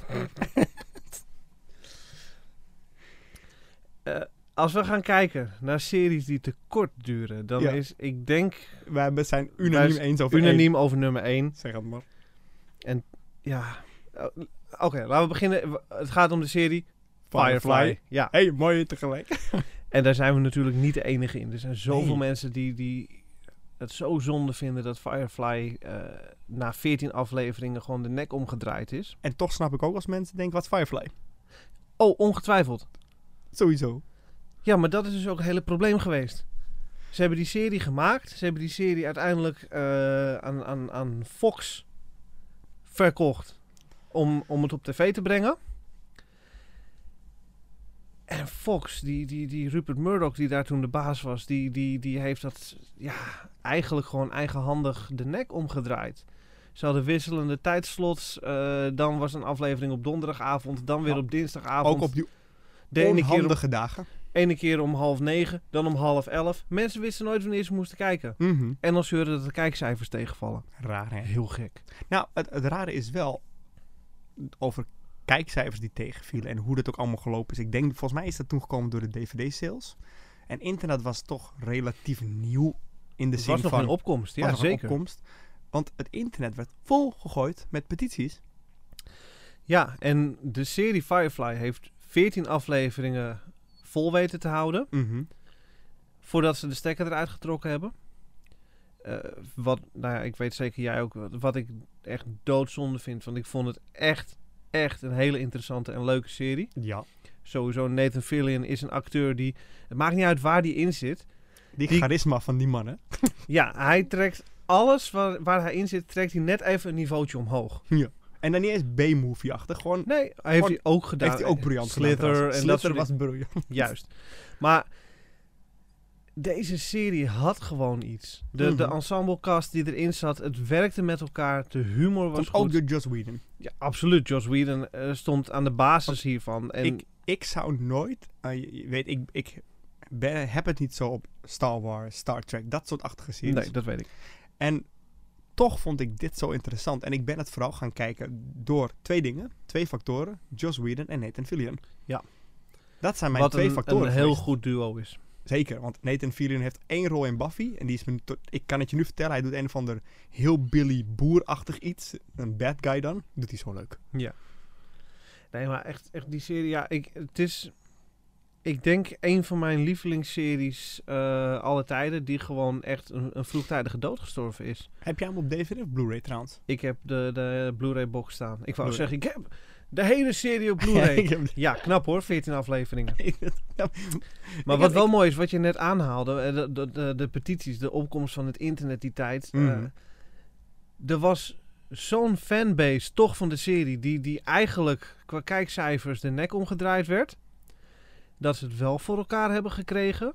Speaker 2: Als we gaan kijken naar series die te kort duren... dan
Speaker 1: Ja.
Speaker 2: is, ik denk,
Speaker 1: Wij hebben- zijn
Speaker 2: Wij
Speaker 1: unaniem
Speaker 2: zijn
Speaker 1: eens over één.
Speaker 2: unaniem over nummer 1.
Speaker 1: Zeg het maar.
Speaker 2: Ja. Eh, Oké, laten we beginnen. W- Het gaat om de serie
Speaker 1: Firefly.
Speaker 2: Ja.
Speaker 1: Hé, hey, mooi tegelijk.
Speaker 2: En daar zijn we natuurlijk niet de enige in. Er zijn zoveel
Speaker 1: Nee.
Speaker 2: mensen die, die het zo zonde vinden dat Firefly eh, na 14 afleveringen gewoon de nek omgedraaid is.
Speaker 1: En toch snap ik ook als mensen denken, wat is Firefly?
Speaker 2: Oh, ongetwijfeld.
Speaker 1: Sowieso.
Speaker 2: Ja, maar dat is dus ook het hele probleem geweest. Ze hebben die serie gemaakt. Ze hebben die serie uiteindelijk eh, aan, aan, aan Fox verkocht. Om, om het op tv te brengen. En Fox, die, die, die Rupert Murdoch die daar toen de baas was, die, die, die heeft dat ja, eigenlijk gewoon eigenhandig de nek omgedraaid. Ze hadden wisselende tijdslots. eh, dan was een aflevering op donderdagavond, dan weer
Speaker 1: Ja.
Speaker 2: op dinsdagavond.
Speaker 1: Ook op die
Speaker 2: de ene keer op
Speaker 1: onhandige dagen.
Speaker 2: Ene keer om half negen, dan om half elf. Mensen wisten nooit wanneer ze moesten kijken.
Speaker 1: Mhm.
Speaker 2: En dan zeurden dat de kijkcijfers tegenvallen.
Speaker 1: Raar, hè?
Speaker 2: Heel gek.
Speaker 1: Nou, het, het rare is wel over kijkcijfers die tegenvielen en hoe dat ook allemaal gelopen is. Ik denk, volgens mij is dat toen gekomen door de DVD-sales. En internet was toch relatief nieuw in de
Speaker 2: Het
Speaker 1: zin
Speaker 2: was nog
Speaker 1: van
Speaker 2: een opkomst,
Speaker 1: was
Speaker 2: ja
Speaker 1: nog een
Speaker 2: zeker.
Speaker 1: opkomst. Want het internet werd volgegooid met petities.
Speaker 2: Ja, en de serie Firefly heeft 14 afleveringen vol weten te houden. Voordat ze de stekker eruit getrokken hebben. Eh, wat, nou ja, ik weet zeker jij ook. wat- Wat ik echt doodzonde vind. Want ik vond het echt, echt een hele interessante en leuke serie.
Speaker 1: Ja.
Speaker 2: Sowieso Nathan Fillion is een acteur die... Het maakt niet uit waar die in zit.
Speaker 1: Die,
Speaker 2: Die-
Speaker 1: charisma van die mannen.
Speaker 2: Ja, hij trekt alles waar, waar hij in zit, trekt hij net even een niveautje omhoog.
Speaker 1: En dan niet eens B-movie-achtig. Gewoon,
Speaker 2: Nee, hij heeft
Speaker 1: Oh,
Speaker 2: hij ook gedaan.
Speaker 1: heeft hij ook briljant gedaan
Speaker 2: Slither en
Speaker 1: trouwens.
Speaker 2: dat
Speaker 1: Slither
Speaker 2: soort
Speaker 1: was briljant.
Speaker 2: Juist. Maar deze serie had gewoon iets. De, de
Speaker 1: Mhm.
Speaker 2: ensemblecast die erin zat, het werkte met elkaar, de humor was
Speaker 1: Komt
Speaker 2: goed.
Speaker 1: ook door Joss Whedon.
Speaker 2: Ja, absoluut. Joss Whedon eh, stond aan de basis hiervan. En
Speaker 1: Oh, Ik, ik zou nooit... eh, je- je weet, ik, ik ben- heb het niet zo op Star Wars, Star Trek, dat soort achtige series.
Speaker 2: nee, dat weet ik.
Speaker 1: En toch vond ik dit zo interessant. En ik ben het vooral gaan kijken door twee dingen. Twee factoren. Joss Whedon en Nathan Fillion.
Speaker 2: Ja.
Speaker 1: Dat zijn mijn
Speaker 2: Wat
Speaker 1: twee
Speaker 2: een,
Speaker 1: factoren.
Speaker 2: een heel
Speaker 1: geweest.
Speaker 2: goed duo is.
Speaker 1: Zeker, want Nathan Fillion heeft één rol in Buffy. En die is me tot- ik kan het je nu vertellen, hij doet een of ander heel Billy Boer-achtig iets. Een bad guy dan. Doet hij zo leuk.
Speaker 2: Nee, maar echt, echt die serie, ja, ik, het is, ik denk, een van mijn lievelingsseries eh alle tijden, die gewoon echt een, een vroegtijdige dood gestorven is.
Speaker 1: Heb jij hem op DVD of Blu-ray trouwens?
Speaker 2: Ik heb de, de Blu-ray box staan. Ik wou
Speaker 1: Blu-ray.
Speaker 2: zeggen, ik heb de hele serie op
Speaker 1: ik
Speaker 2: Blu-ray.
Speaker 1: heb,
Speaker 2: ja, knap hoor, 14 afleveringen. Maar
Speaker 1: Ik
Speaker 2: wat
Speaker 1: heb-
Speaker 2: wel mooi is, wat je net aanhaalde, eh, de, de, de, de petities, de opkomst van het internet die tijd. eh,
Speaker 1: Mhm.
Speaker 2: er was zo'n fanbase toch van de serie die, die eigenlijk qua kijkcijfers de nek omgedraaid werd. Dat ze het wel voor elkaar hebben gekregen.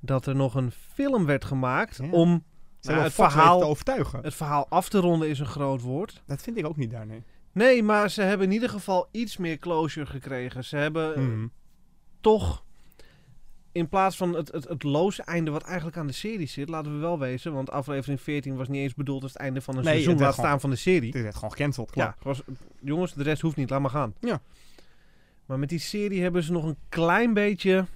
Speaker 2: Dat er nog een film werd gemaakt
Speaker 1: Ja.
Speaker 2: om
Speaker 1: Ze hebben
Speaker 2: Nou, het
Speaker 1: Fox weten
Speaker 2: verhaal-
Speaker 1: te overtuigen.
Speaker 2: het verhaal af te ronden is een groot woord.
Speaker 1: Dat vind ik ook niet daar, nee.
Speaker 2: Nee, maar ze hebben in ieder geval iets meer closure gekregen. Ze hebben eh,
Speaker 1: Mhm.
Speaker 2: toch in plaats van het, het, het loze einde wat eigenlijk aan de serie zit, laten we wel wezen, want aflevering 14 was niet eens bedoeld als het einde van een
Speaker 1: Nee,
Speaker 2: seizoen,
Speaker 1: het werd
Speaker 2: laat staan van de serie.
Speaker 1: Het is gewoon gecanceld,
Speaker 2: Ja,
Speaker 1: klaar.
Speaker 2: het was, jongens, de rest hoeft niet, laat maar gaan.
Speaker 1: Ja.
Speaker 2: Maar met die serie hebben ze nog een klein beetje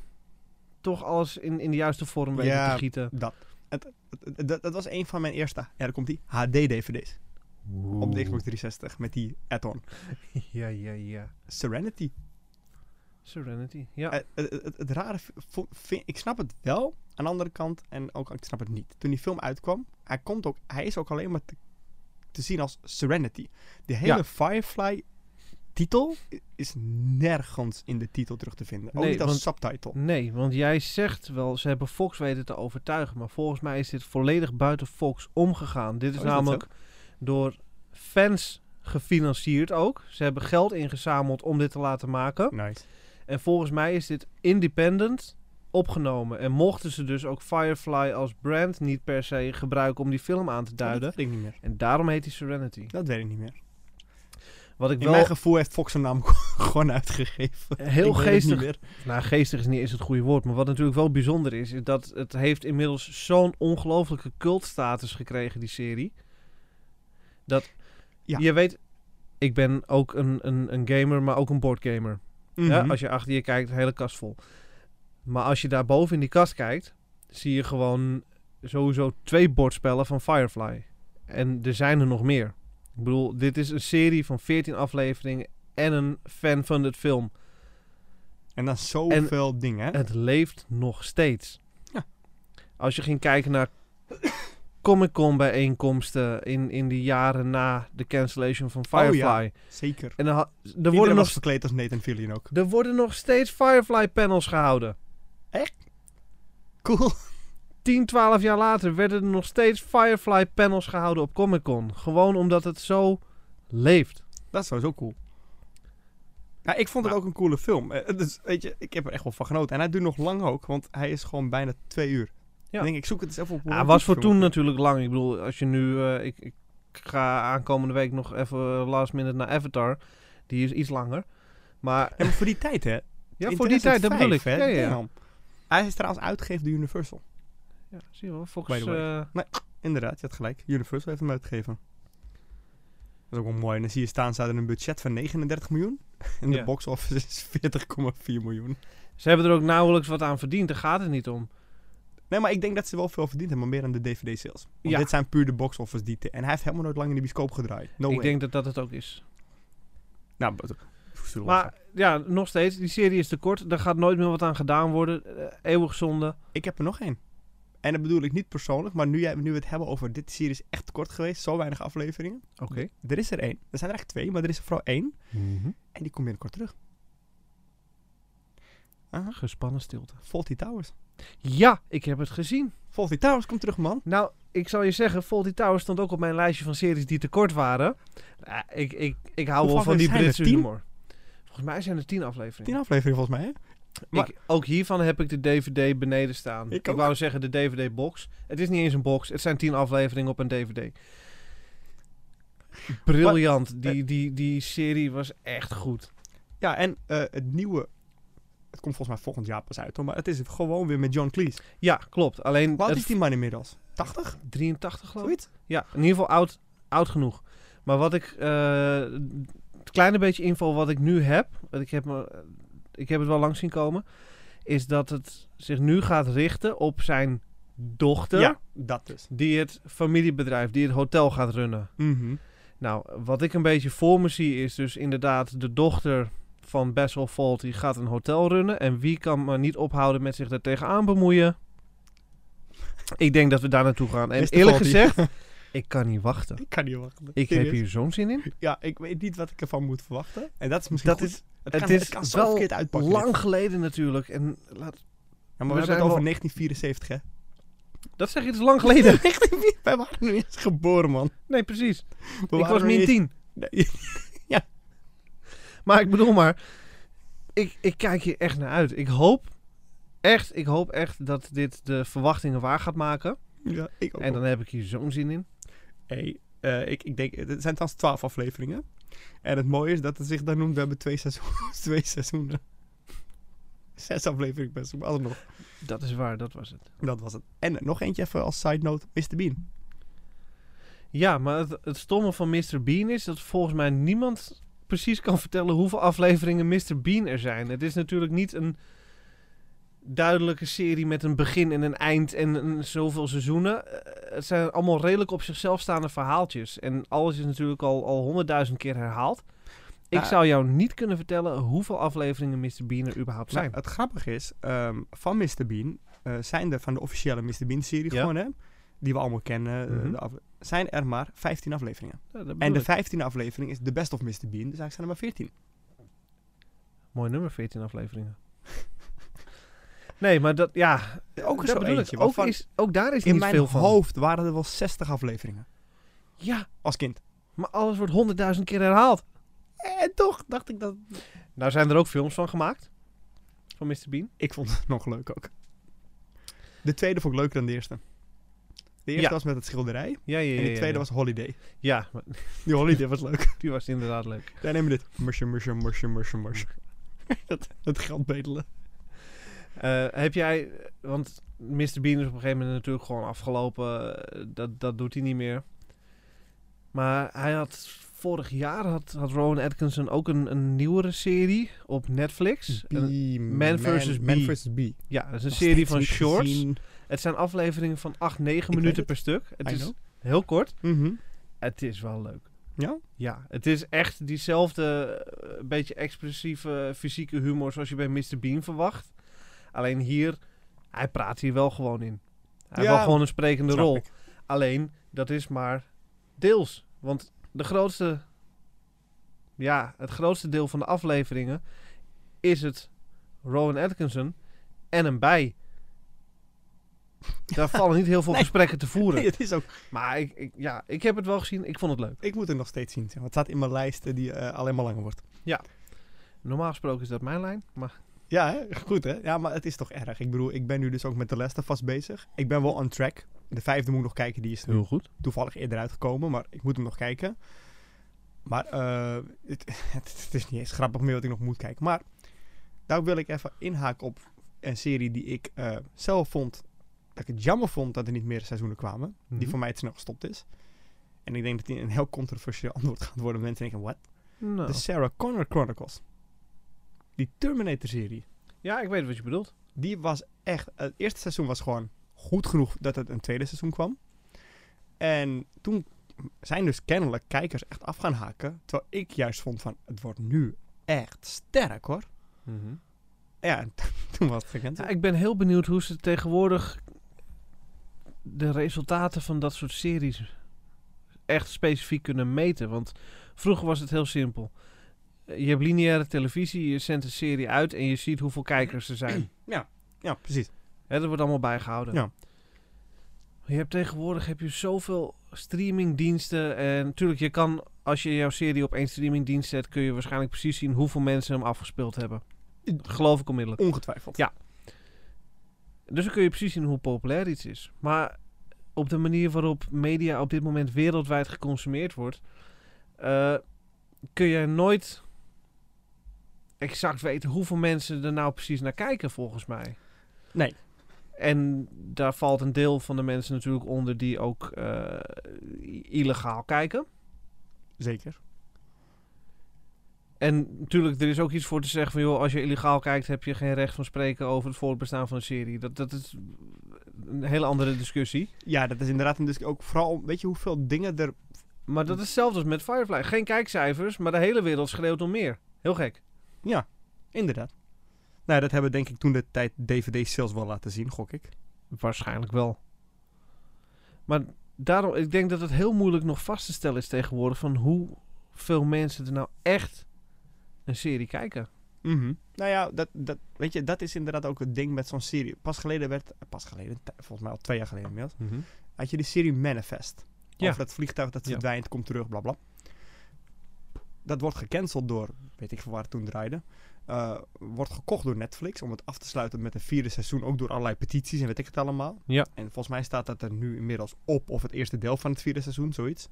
Speaker 2: toch alles in, in de juiste vorm weten
Speaker 1: Ja.
Speaker 2: te gieten.
Speaker 1: Dat. Het, het- dat, dat was een van mijn eerste, ja, daar komt die, HD-DVD's. Op de Xbox 360 met die add-on.
Speaker 2: Ja, ja, ja.
Speaker 1: Serenity.
Speaker 2: Serenity, ja.
Speaker 1: Eh, het, het, het rare, v- vo- vind- ik snap het wel aan de andere kant en ook ik snap het niet. Toen die film uitkwam, hij, komt ook, hij is ook alleen maar te, te zien als Serenity. De hele
Speaker 2: Ja.
Speaker 1: Firefly-titel is nergens in de titel terug te vinden. Ook
Speaker 2: Nee,
Speaker 1: niet als
Speaker 2: want-
Speaker 1: subtitle.
Speaker 2: Nee, want jij zegt wel, ze hebben Fox weten te overtuigen. Maar volgens mij is dit volledig buiten Fox omgegaan. Dit is,
Speaker 1: Oh, is dat
Speaker 2: namelijk door fans gefinancierd ook. Ze hebben geld ingezameld om dit te laten maken.
Speaker 1: Nice.
Speaker 2: En volgens mij is dit independent opgenomen. En mochten ze dus ook Firefly als brand niet per se gebruiken om die film aan te duiden.
Speaker 1: Dat weet ik niet meer.
Speaker 2: En daarom heet hij Serenity.
Speaker 1: Dat weet ik niet meer.
Speaker 2: Wat ik
Speaker 1: In
Speaker 2: wel
Speaker 1: mijn gevoel heeft Fox zijn naam gewoon uitgegeven.
Speaker 2: heel
Speaker 1: Ik weet het niet
Speaker 2: geestig
Speaker 1: meer.
Speaker 2: Nou, geestig is niet eens het goede woord. Maar wat natuurlijk wel bijzonder is, is dat het heeft inmiddels zo'n ongelooflijke cultstatus gekregen, die serie. Dat,
Speaker 1: Ja.
Speaker 2: je weet, ik ben ook een, een, een gamer, maar ook een boardgamer. ja?
Speaker 1: Mhm.
Speaker 2: Als je achter je kijkt, de hele kast vol. Maar als je daarboven in die kast kijkt, zie je gewoon sowieso twee bordspellen van Firefly. En er zijn er nog meer. Ik bedoel, dit is een serie van 14 afleveringen en een fan-funded film.
Speaker 1: En dan zoveel dingen, hè?
Speaker 2: Het leeft nog steeds.
Speaker 1: Ja.
Speaker 2: Als je ging kijken naar Comic-Con bijeenkomsten in, in de jaren na de cancellation van
Speaker 1: Oh, ja.
Speaker 2: Firefly.
Speaker 1: Zeker.
Speaker 2: En dan ha- er,
Speaker 1: Er
Speaker 2: worden
Speaker 1: was
Speaker 2: nog,
Speaker 1: verkleed als Nathan Fillion ook.
Speaker 2: er worden nog steeds Firefly-panels gehouden.
Speaker 1: Cool.
Speaker 2: 10, 12 jaar later werden er nog steeds Firefly-panels gehouden op Comic-Con. Gewoon omdat het zo leeft.
Speaker 1: Dat is sowieso cool. Ja, ik vond het
Speaker 2: Nou.
Speaker 1: ook een coole film. Eh, Dus weet je, ik heb er echt wel van genoten. En hij duurt nog lang ook, want hij is gewoon bijna twee uur.
Speaker 2: Ja.
Speaker 1: Ik denk, ik zoek het eens even op.
Speaker 2: Hij
Speaker 1: hoe
Speaker 2: was voor
Speaker 1: die film
Speaker 2: toen
Speaker 1: ook
Speaker 2: natuurlijk lang. Ik bedoel, als je nu... eh, ik, ik ga aankomende week eh, nog even last minute naar Avatar. Die is iets langer. Maar
Speaker 1: is. En voor die tijd, hè.
Speaker 2: Ja,
Speaker 1: in
Speaker 2: voor die tijd, dat bedoel ik.
Speaker 1: 2005,
Speaker 2: Ja, ja,
Speaker 1: hè?
Speaker 2: ja.
Speaker 1: Damn. Hij is trouwens uitgegeven door Universal.
Speaker 2: Ja, zie je wel.
Speaker 1: By
Speaker 2: Volgens
Speaker 1: the
Speaker 2: eh
Speaker 1: Inderdaad, je had gelijk. Universal heeft hem uitgegeven. Dat is ook wel mooi. En dan zie je staan, staat er een budget van 39 miljoen. En de
Speaker 2: Ja.
Speaker 1: box office is 40,4 miljoen.
Speaker 2: ze hebben er ook nauwelijks wat aan verdiend. Daar gaat het niet om.
Speaker 1: Nee, maar ik denk dat ze wel veel verdiend hebben, maar meer aan de DVD-sales. Want
Speaker 2: Ja.
Speaker 1: dit zijn puur de box office die... te- en hij heeft helemaal nooit lang in de bioscoop gedraaid. No
Speaker 2: ik
Speaker 1: way.
Speaker 2: denk dat dat het ook is.
Speaker 1: Nou, but- zullen we
Speaker 2: Maar ja, nog steeds. Die serie is te kort. Daar gaat nooit meer wat aan gedaan worden. Eh, eeuwig zonde.
Speaker 1: Ik heb er nog één. En dat bedoel ik niet persoonlijk, maar nu, jij, nu we het hebben over dit serie is echt kort geweest, zo weinig afleveringen.
Speaker 2: Oké.
Speaker 1: Er is er één. Er zijn er eigenlijk twee, maar er is er vooral één. En die komt binnenkort terug.
Speaker 2: Gespannen stilte.
Speaker 1: Faulty Towers.
Speaker 2: Ja, ik heb het gezien.
Speaker 1: Faulty Towers komt terug, man.
Speaker 2: Nou, ik zal je zeggen, Fawlty Towers stond ook op mijn lijstje van series die te kort waren. Nou, ik, ik, ik hou
Speaker 1: Hoeveel
Speaker 2: wel van die
Speaker 1: zijn er?
Speaker 2: Britse
Speaker 1: Tien?
Speaker 2: humor. Volgens mij zijn er tien afleveringen.
Speaker 1: Tien afleveringen volgens mij, hè? maar-
Speaker 2: Ik, ook hiervan heb ik de DVD beneden staan.
Speaker 1: Ik
Speaker 2: Ik,
Speaker 1: ook.
Speaker 2: wou zeggen de DVD-box. Het is niet eens een box. Het zijn tien afleveringen op een DVD. Briljant.
Speaker 1: eh,
Speaker 2: die, die, die serie was echt goed.
Speaker 1: Ja, en eh, het nieuwe... Het komt volgens mij volgend jaar pas uit, hoor. Maar het is gewoon weer met John Cleese.
Speaker 2: Ja, klopt. Alleen
Speaker 1: Wat
Speaker 2: het
Speaker 1: is die man inmiddels? 80?
Speaker 2: 83 geloof ik.
Speaker 1: Zoiets?
Speaker 2: Ja, in ieder geval oud, oud genoeg. Maar wat ik. eh, het kleine beetje info wat ik nu heb. want Ik heb, me, ik heb het wel lang zien komen. Is dat het zich nu gaat richten op zijn dochter.
Speaker 1: Ja, dat dus.
Speaker 2: Die het familiebedrijf, die het hotel gaat runnen.
Speaker 1: Mhm.
Speaker 2: Nou, wat ik een beetje voor me zie is dus inderdaad de dochter van Bessel Volt. Die gaat een hotel runnen. En wie kan maar niet ophouden met zich daar tegenaan bemoeien? Ik denk dat we daar naartoe gaan. En
Speaker 1: Mr.
Speaker 2: eerlijk
Speaker 1: Faulty.
Speaker 2: gezegd, ik kan niet wachten.
Speaker 1: Ik kan niet wachten.
Speaker 2: Ik heb
Speaker 1: Serieus.
Speaker 2: hier zo'n zin in.
Speaker 1: Ja, ik weet niet wat ik ervan moet verwachten. En dat is misschien
Speaker 2: Dat
Speaker 1: goed.
Speaker 2: is-
Speaker 1: het,
Speaker 2: het
Speaker 1: kan,
Speaker 2: is
Speaker 1: het kan zo
Speaker 2: wel
Speaker 1: verkeerd uitpakken. dit.
Speaker 2: Lang geleden natuurlijk. En
Speaker 1: Ja, maar
Speaker 2: laat,
Speaker 1: we,
Speaker 2: We
Speaker 1: hebben
Speaker 2: zijn
Speaker 1: het over
Speaker 2: wel-
Speaker 1: 1974, hè?
Speaker 2: dat zeg je dus lang geleden.
Speaker 1: Wij waren nu eens geboren, man.
Speaker 2: Nee, precies.
Speaker 1: We
Speaker 2: ik
Speaker 1: waren
Speaker 2: was
Speaker 1: nog
Speaker 2: min
Speaker 1: niet eens-
Speaker 2: 10.
Speaker 1: Nee,
Speaker 2: Maar ik bedoel maar, ik, ik kijk hier echt naar uit. Ik hoop echt, ik hoop echt dat dit de verwachtingen waar gaat maken.
Speaker 1: ja, ik ook.
Speaker 2: En dan heb ik hier zo'n zin in.
Speaker 1: Hey, eh, ik, ik denk, het zijn trouwens 12 afleveringen. En het mooie is dat het zich daar noemt, we hebben twee seizoenen. twee seizoenen. Zes afleveringen best, maar alsnog.
Speaker 2: Dat is waar, dat was het.
Speaker 1: Dat was het. En nog eentje even als side note, Mr. Bean.
Speaker 2: Ja, maar het, het stomme van Mr. Bean is dat volgens mij niemand precies kan vertellen hoeveel afleveringen Mr. Bean er zijn. Het is natuurlijk niet een duidelijke serie met een begin en een eind en een zoveel seizoenen. Eh, Het zijn allemaal redelijk op zichzelf staande verhaaltjes. En alles is natuurlijk al al honderdduizend keer herhaald. Ik
Speaker 1: Ja.
Speaker 2: zou jou niet kunnen vertellen hoeveel afleveringen Mr. Bean er überhaupt
Speaker 1: Nou,
Speaker 2: zijn.
Speaker 1: het grappige is, ehm, van Mr. Bean, eh, zijn er van de officiële Mr. Bean-serie
Speaker 2: Ja.
Speaker 1: gewoon, hè? Die we allemaal kennen. eh,
Speaker 2: Mhm.
Speaker 1: de af- zijn er maar 15 afleveringen.
Speaker 2: Ja, Eh, dat
Speaker 1: En
Speaker 2: bedoel
Speaker 1: de
Speaker 2: ik.
Speaker 1: 15e aflevering is The Best of Mr. Bean, dus eigenlijk zijn er maar 14.
Speaker 2: Mooi nummer, 14 afleveringen. nee, maar dat, ja,
Speaker 1: Ook
Speaker 2: dat
Speaker 1: zo
Speaker 2: bedoel ik.
Speaker 1: eentje.
Speaker 2: Ook,
Speaker 1: waarvan
Speaker 2: is, ook daar is
Speaker 1: in
Speaker 2: niet
Speaker 1: mijn
Speaker 2: veel van.
Speaker 1: hoofd waren er wel 60 afleveringen.
Speaker 2: Ja,
Speaker 1: Als kind.
Speaker 2: maar alles wordt honderdduizend keer herhaald.
Speaker 1: En toch dacht ik dat...
Speaker 2: Nou zijn er ook films van gemaakt. Van Mr. Bean.
Speaker 1: Ik vond het nog leuk ook. De tweede vond ik leuker dan de eerste. De eerste
Speaker 2: Ja.
Speaker 1: was met het schilderij.
Speaker 2: Ja, ja, ja.
Speaker 1: en de
Speaker 2: ja,
Speaker 1: tweede
Speaker 2: ja.
Speaker 1: was Holiday.
Speaker 2: Ja, maar
Speaker 1: Die Holiday was leuk.
Speaker 2: die was inderdaad leuk.
Speaker 1: Daar nemen we dit. Musje, musje, musje, musje, musje. dat, dat geld bedelen.
Speaker 2: Eh, heb jij... Want Mr. Bean is op een gegeven moment natuurlijk gewoon afgelopen. Eh, Dat, dat doet hij niet meer. Maar hij had... Vorig jaar had, had Rowan Atkinson ook een, een nieuwere serie op Netflix. Een- Man versus
Speaker 1: Man
Speaker 2: Bee.
Speaker 1: versus Bee.
Speaker 2: ja, dat is een
Speaker 1: Nog
Speaker 2: serie
Speaker 1: steeds
Speaker 2: van
Speaker 1: niet
Speaker 2: shorts.
Speaker 1: gezien.
Speaker 2: Het zijn afleveringen van 8, 9
Speaker 1: weet
Speaker 2: minuten
Speaker 1: het.
Speaker 2: per stuk. Het
Speaker 1: I
Speaker 2: is
Speaker 1: know.
Speaker 2: heel kort.
Speaker 1: Mhm.
Speaker 2: Het is wel leuk.
Speaker 1: Ja?
Speaker 2: Ja, het is echt diezelfde eh, beetje expressieve eh, fysieke humor zoals je bij Mr. Bean verwacht. Alleen hier, hij praat hier wel gewoon in. Hij
Speaker 1: Ja,
Speaker 2: heeft wel gewoon een sprekende
Speaker 1: Snap
Speaker 2: rol.
Speaker 1: ik.
Speaker 2: Alleen, dat is maar deels. Want de grootste, ja, het grootste deel van de afleveringen is het Rowan Atkinson en een bij. Daar vallen niet heel veel
Speaker 1: Nee.
Speaker 2: gesprekken te voeren.
Speaker 1: Nee, het is ook...
Speaker 2: Maar ik, ik, ja, ik heb het wel gezien. Ik vond het leuk.
Speaker 1: Ik moet het nog steeds zien. zeg maar. Het staat in mijn lijst eh, die eh, alleen maar langer wordt.
Speaker 2: Normaal gesproken is dat mijn lijn. Maar
Speaker 1: Ja, hè? goed hè? Ja, maar het is toch erg. Ik bedoel, ik ben nu dus ook met de Lester vast bezig. Ik ben wel on track. De vijfde moet ik nog kijken. Die is nu
Speaker 2: goed.
Speaker 1: toevallig eerder uitgekomen, maar ik moet hem nog kijken. Maar eh, het, het, het is niet eens grappig meer wat ik nog moet kijken. Maar Daar wil ik even inhaken op een serie die ik eh, zelf vond. Dat ik het jammer vond dat er niet meer seizoenen kwamen. Die
Speaker 2: Mhm.
Speaker 1: voor mij te snel gestopt is. En ik denk dat die een heel controversieel antwoord gaat worden. Mensen denken, what?
Speaker 2: Nou.
Speaker 1: De Sarah Connor Chronicles. Die Terminator-serie.
Speaker 2: Ja, ik weet wat je bedoelt.
Speaker 1: Die was echt... Het eerste seizoen was gewoon goed genoeg dat het een tweede seizoen kwam. En toen zijn dus kennelijk kijkers echt af gaan haken. Terwijl ik juist vond van, het wordt nu echt sterk hoor.
Speaker 2: Mhm.
Speaker 1: Ja, en toen was het gekend.
Speaker 2: Ja, ik ben heel benieuwd hoe ze tegenwoordig de resultaten van dat soort series echt specifiek kunnen meten. Want vroeger was het heel simpel. Je hebt lineaire televisie, je zendt een serie uit en je ziet hoeveel kijkers er zijn.
Speaker 1: Ja, precies.
Speaker 2: Hè, dat wordt allemaal bijgehouden.
Speaker 1: Ja.
Speaker 2: Je hebt tegenwoordig heb je zoveel streamingdiensten. En natuurlijk, je kan als je jouw serie op één streamingdienst zet, kun je waarschijnlijk precies zien hoeveel mensen hem afgespeeld hebben. Geloof ik onmiddellijk.
Speaker 1: Ongetwijfeld.
Speaker 2: Ja. Dus dan kun je precies zien hoe populair iets is. Maar op de manier waarop media op dit moment wereldwijd geconsumeerd wordt, eh, kun je nooit exact weten hoeveel mensen er nou precies naar kijken, volgens mij.
Speaker 1: Nee.
Speaker 2: En daar valt een deel van de mensen natuurlijk onder die ook eh, i- illegaal kijken.
Speaker 1: Zeker.
Speaker 2: En natuurlijk, er is ook iets voor te zeggen van... joh, als je illegaal kijkt, heb je geen recht van spreken over het voortbestaan van een serie. Dat, dat is een hele andere discussie.
Speaker 1: Ja, dat is inderdaad een discussie. Ook vooral, weet je hoeveel dingen er...
Speaker 2: Maar dat is hetzelfde als met Firefly. Geen kijkcijfers, maar de hele wereld schreeuwt om meer. Heel gek.
Speaker 1: Ja, inderdaad. Nou, dat hebben denk ik toen de tijd DVD-sales wel laten zien, gok ik.
Speaker 2: Waarschijnlijk wel. Maar daarom, ik denk dat het heel moeilijk nog vast te stellen is tegenwoordig... van hoeveel mensen er nou echt een serie kijken. Mhm.
Speaker 1: Nou ja, dat, dat, weet je, dat is inderdaad ook het ding met zo'n serie. Pas geleden werd... eh, Pas geleden? t- Volgens mij al twee jaar geleden inmiddels. Had je die serie Manifest.
Speaker 2: Ja.
Speaker 1: Of dat vliegtuig dat
Speaker 2: Ja.
Speaker 1: verdwijnt, komt terug, bla bla. Dat wordt gecanceld door, weet ik veel waar het toen draaide. Eh, wordt gekocht door Netflix om het af te sluiten met een vierde seizoen. Ook door allerlei petities en weet ik het allemaal.
Speaker 2: Ja.
Speaker 1: En volgens mij staat dat er nu inmiddels op of het eerste deel van het vierde seizoen, zoiets.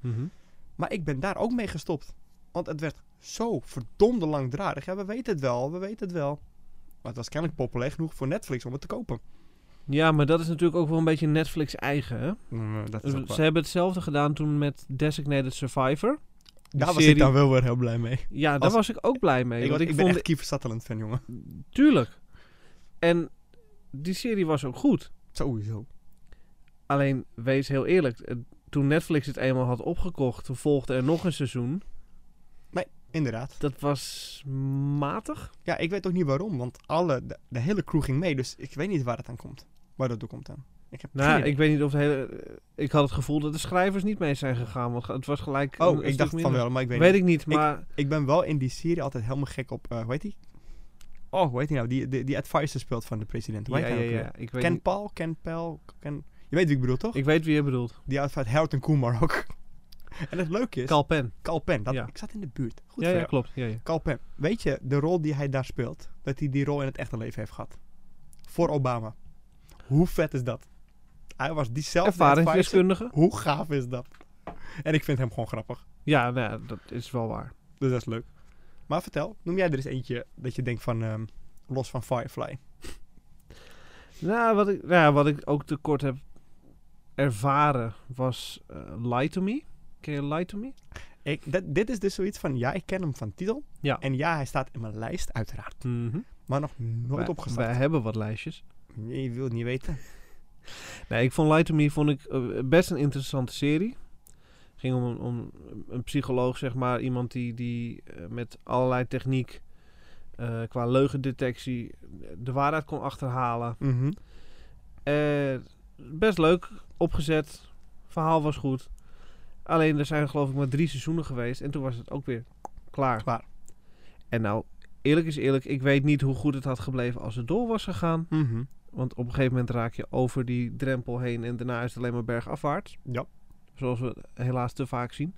Speaker 1: Maar ik ben daar ook mee gestopt. Want het werd zo verdomde langdradig. Ja, we weten het wel, we weten het wel. Maar het was kennelijk populair genoeg voor Netflix om het te kopen.
Speaker 2: Ja, maar dat is natuurlijk ook wel een beetje Netflix eigen, hè?
Speaker 1: dat
Speaker 2: Eh, Ze hebben hetzelfde gedaan toen met Designated Survivor.
Speaker 1: Daar was ik
Speaker 2: serie-
Speaker 1: dan wel weer heel blij mee.
Speaker 2: Ja, daar
Speaker 1: Als-
Speaker 2: was ik ook blij mee.
Speaker 1: ik,
Speaker 2: want
Speaker 1: was-
Speaker 2: ik,
Speaker 1: ik ben
Speaker 2: vond...
Speaker 1: echt Kiefer Sutherland fan, jongen.
Speaker 2: Tuurlijk. En die serie was ook goed.
Speaker 1: Sowieso.
Speaker 2: Alleen, wees heel eerlijk. eh, Toen Netflix het eenmaal had opgekocht, toen volgde er nog een seizoen.
Speaker 1: Inderdaad.
Speaker 2: Dat was matig.
Speaker 1: Ja, ik weet ook niet waarom, want alle, de, de hele crew ging mee. Dus ik weet niet waar het aan komt. Waar dat toe komt aan. Ik heb geen
Speaker 2: Nou,
Speaker 1: idee.
Speaker 2: ik weet niet of de hele... eh, Ik had het gevoel dat de schrijvers niet mee zijn gegaan. Want het was gelijk... een-
Speaker 1: Oh,
Speaker 2: een
Speaker 1: ik
Speaker 2: stuk
Speaker 1: dacht van
Speaker 2: minder.
Speaker 1: wel, maar ik weet,
Speaker 2: Weet
Speaker 1: niet.
Speaker 2: ik niet, maar...
Speaker 1: Ik ben wel in die serie altijd helemaal gek op, eh hoe heet die? Oh, hoe heet die nou? Die, die, die advisor speelt van de president. Hoe
Speaker 2: ja,
Speaker 1: heet
Speaker 2: ja,
Speaker 1: hij ook weer?
Speaker 2: ja. Ik weet,
Speaker 1: Ken
Speaker 2: niet-
Speaker 1: Paul, Ken Pel, Ken... Je weet wie ik bedoel, toch?
Speaker 2: ik weet wie je bedoelt.
Speaker 1: Die uit Harold en Kumar ook. En het leuke is... Cal,
Speaker 2: Calpen.
Speaker 1: Penn. Dat,
Speaker 2: Ja.
Speaker 1: Ik zat in de buurt. Goed
Speaker 2: Ja,
Speaker 1: voor
Speaker 2: ja,
Speaker 1: jou.
Speaker 2: klopt. Ja, ja.
Speaker 1: Cal Penn. Weet je, de rol die hij daar speelt... dat hij die rol in het echte leven heeft gehad. Voor Obama. Hoe vet is dat? Hij was diezelfde advisor.
Speaker 2: Ervaringsdeskundige?
Speaker 1: Hoe gaaf is dat? En ik vind hem gewoon grappig.
Speaker 2: Ja, nou, ja, dat is wel waar.
Speaker 1: Dus dat is leuk. Maar vertel, noem jij er eens eentje dat je denkt van... ehm, los van Firefly.
Speaker 2: Nou, wat ik, nou, ja, wat ik ook tekort heb ervaren was eh Lie to Me. Ken je Lie to Me?
Speaker 1: Ik, dat, dit is dus zoiets van... Ja, ik ken hem van titel.
Speaker 2: Ja.
Speaker 1: En ja, hij staat in mijn lijst, uiteraard. Maar nog Mhm. nooit
Speaker 2: Wij-
Speaker 1: opgestart.
Speaker 2: Wij hebben wat lijstjes.
Speaker 1: Nee, je wil het niet weten.
Speaker 2: Nee, ik vond Lie to Me vond ik, eh, best een interessante serie. Het ging om een, om een psycholoog, zeg maar. Iemand die, die eh, met allerlei techniek eh, qua leugendetectie eh, de waarheid kon achterhalen. Eh, best leuk opgezet. Verhaal was goed. Alleen er zijn geloof ik maar drie seizoenen geweest. En toen was het ook weer klaar.
Speaker 1: Klaar.
Speaker 2: En nou, eerlijk is eerlijk. Ik weet niet hoe goed het had gebleven als het door was gegaan. Want op een gegeven moment raak je over die drempel heen. En daarna is het alleen maar bergafwaarts.
Speaker 1: Ja.
Speaker 2: Zoals we helaas te vaak zien.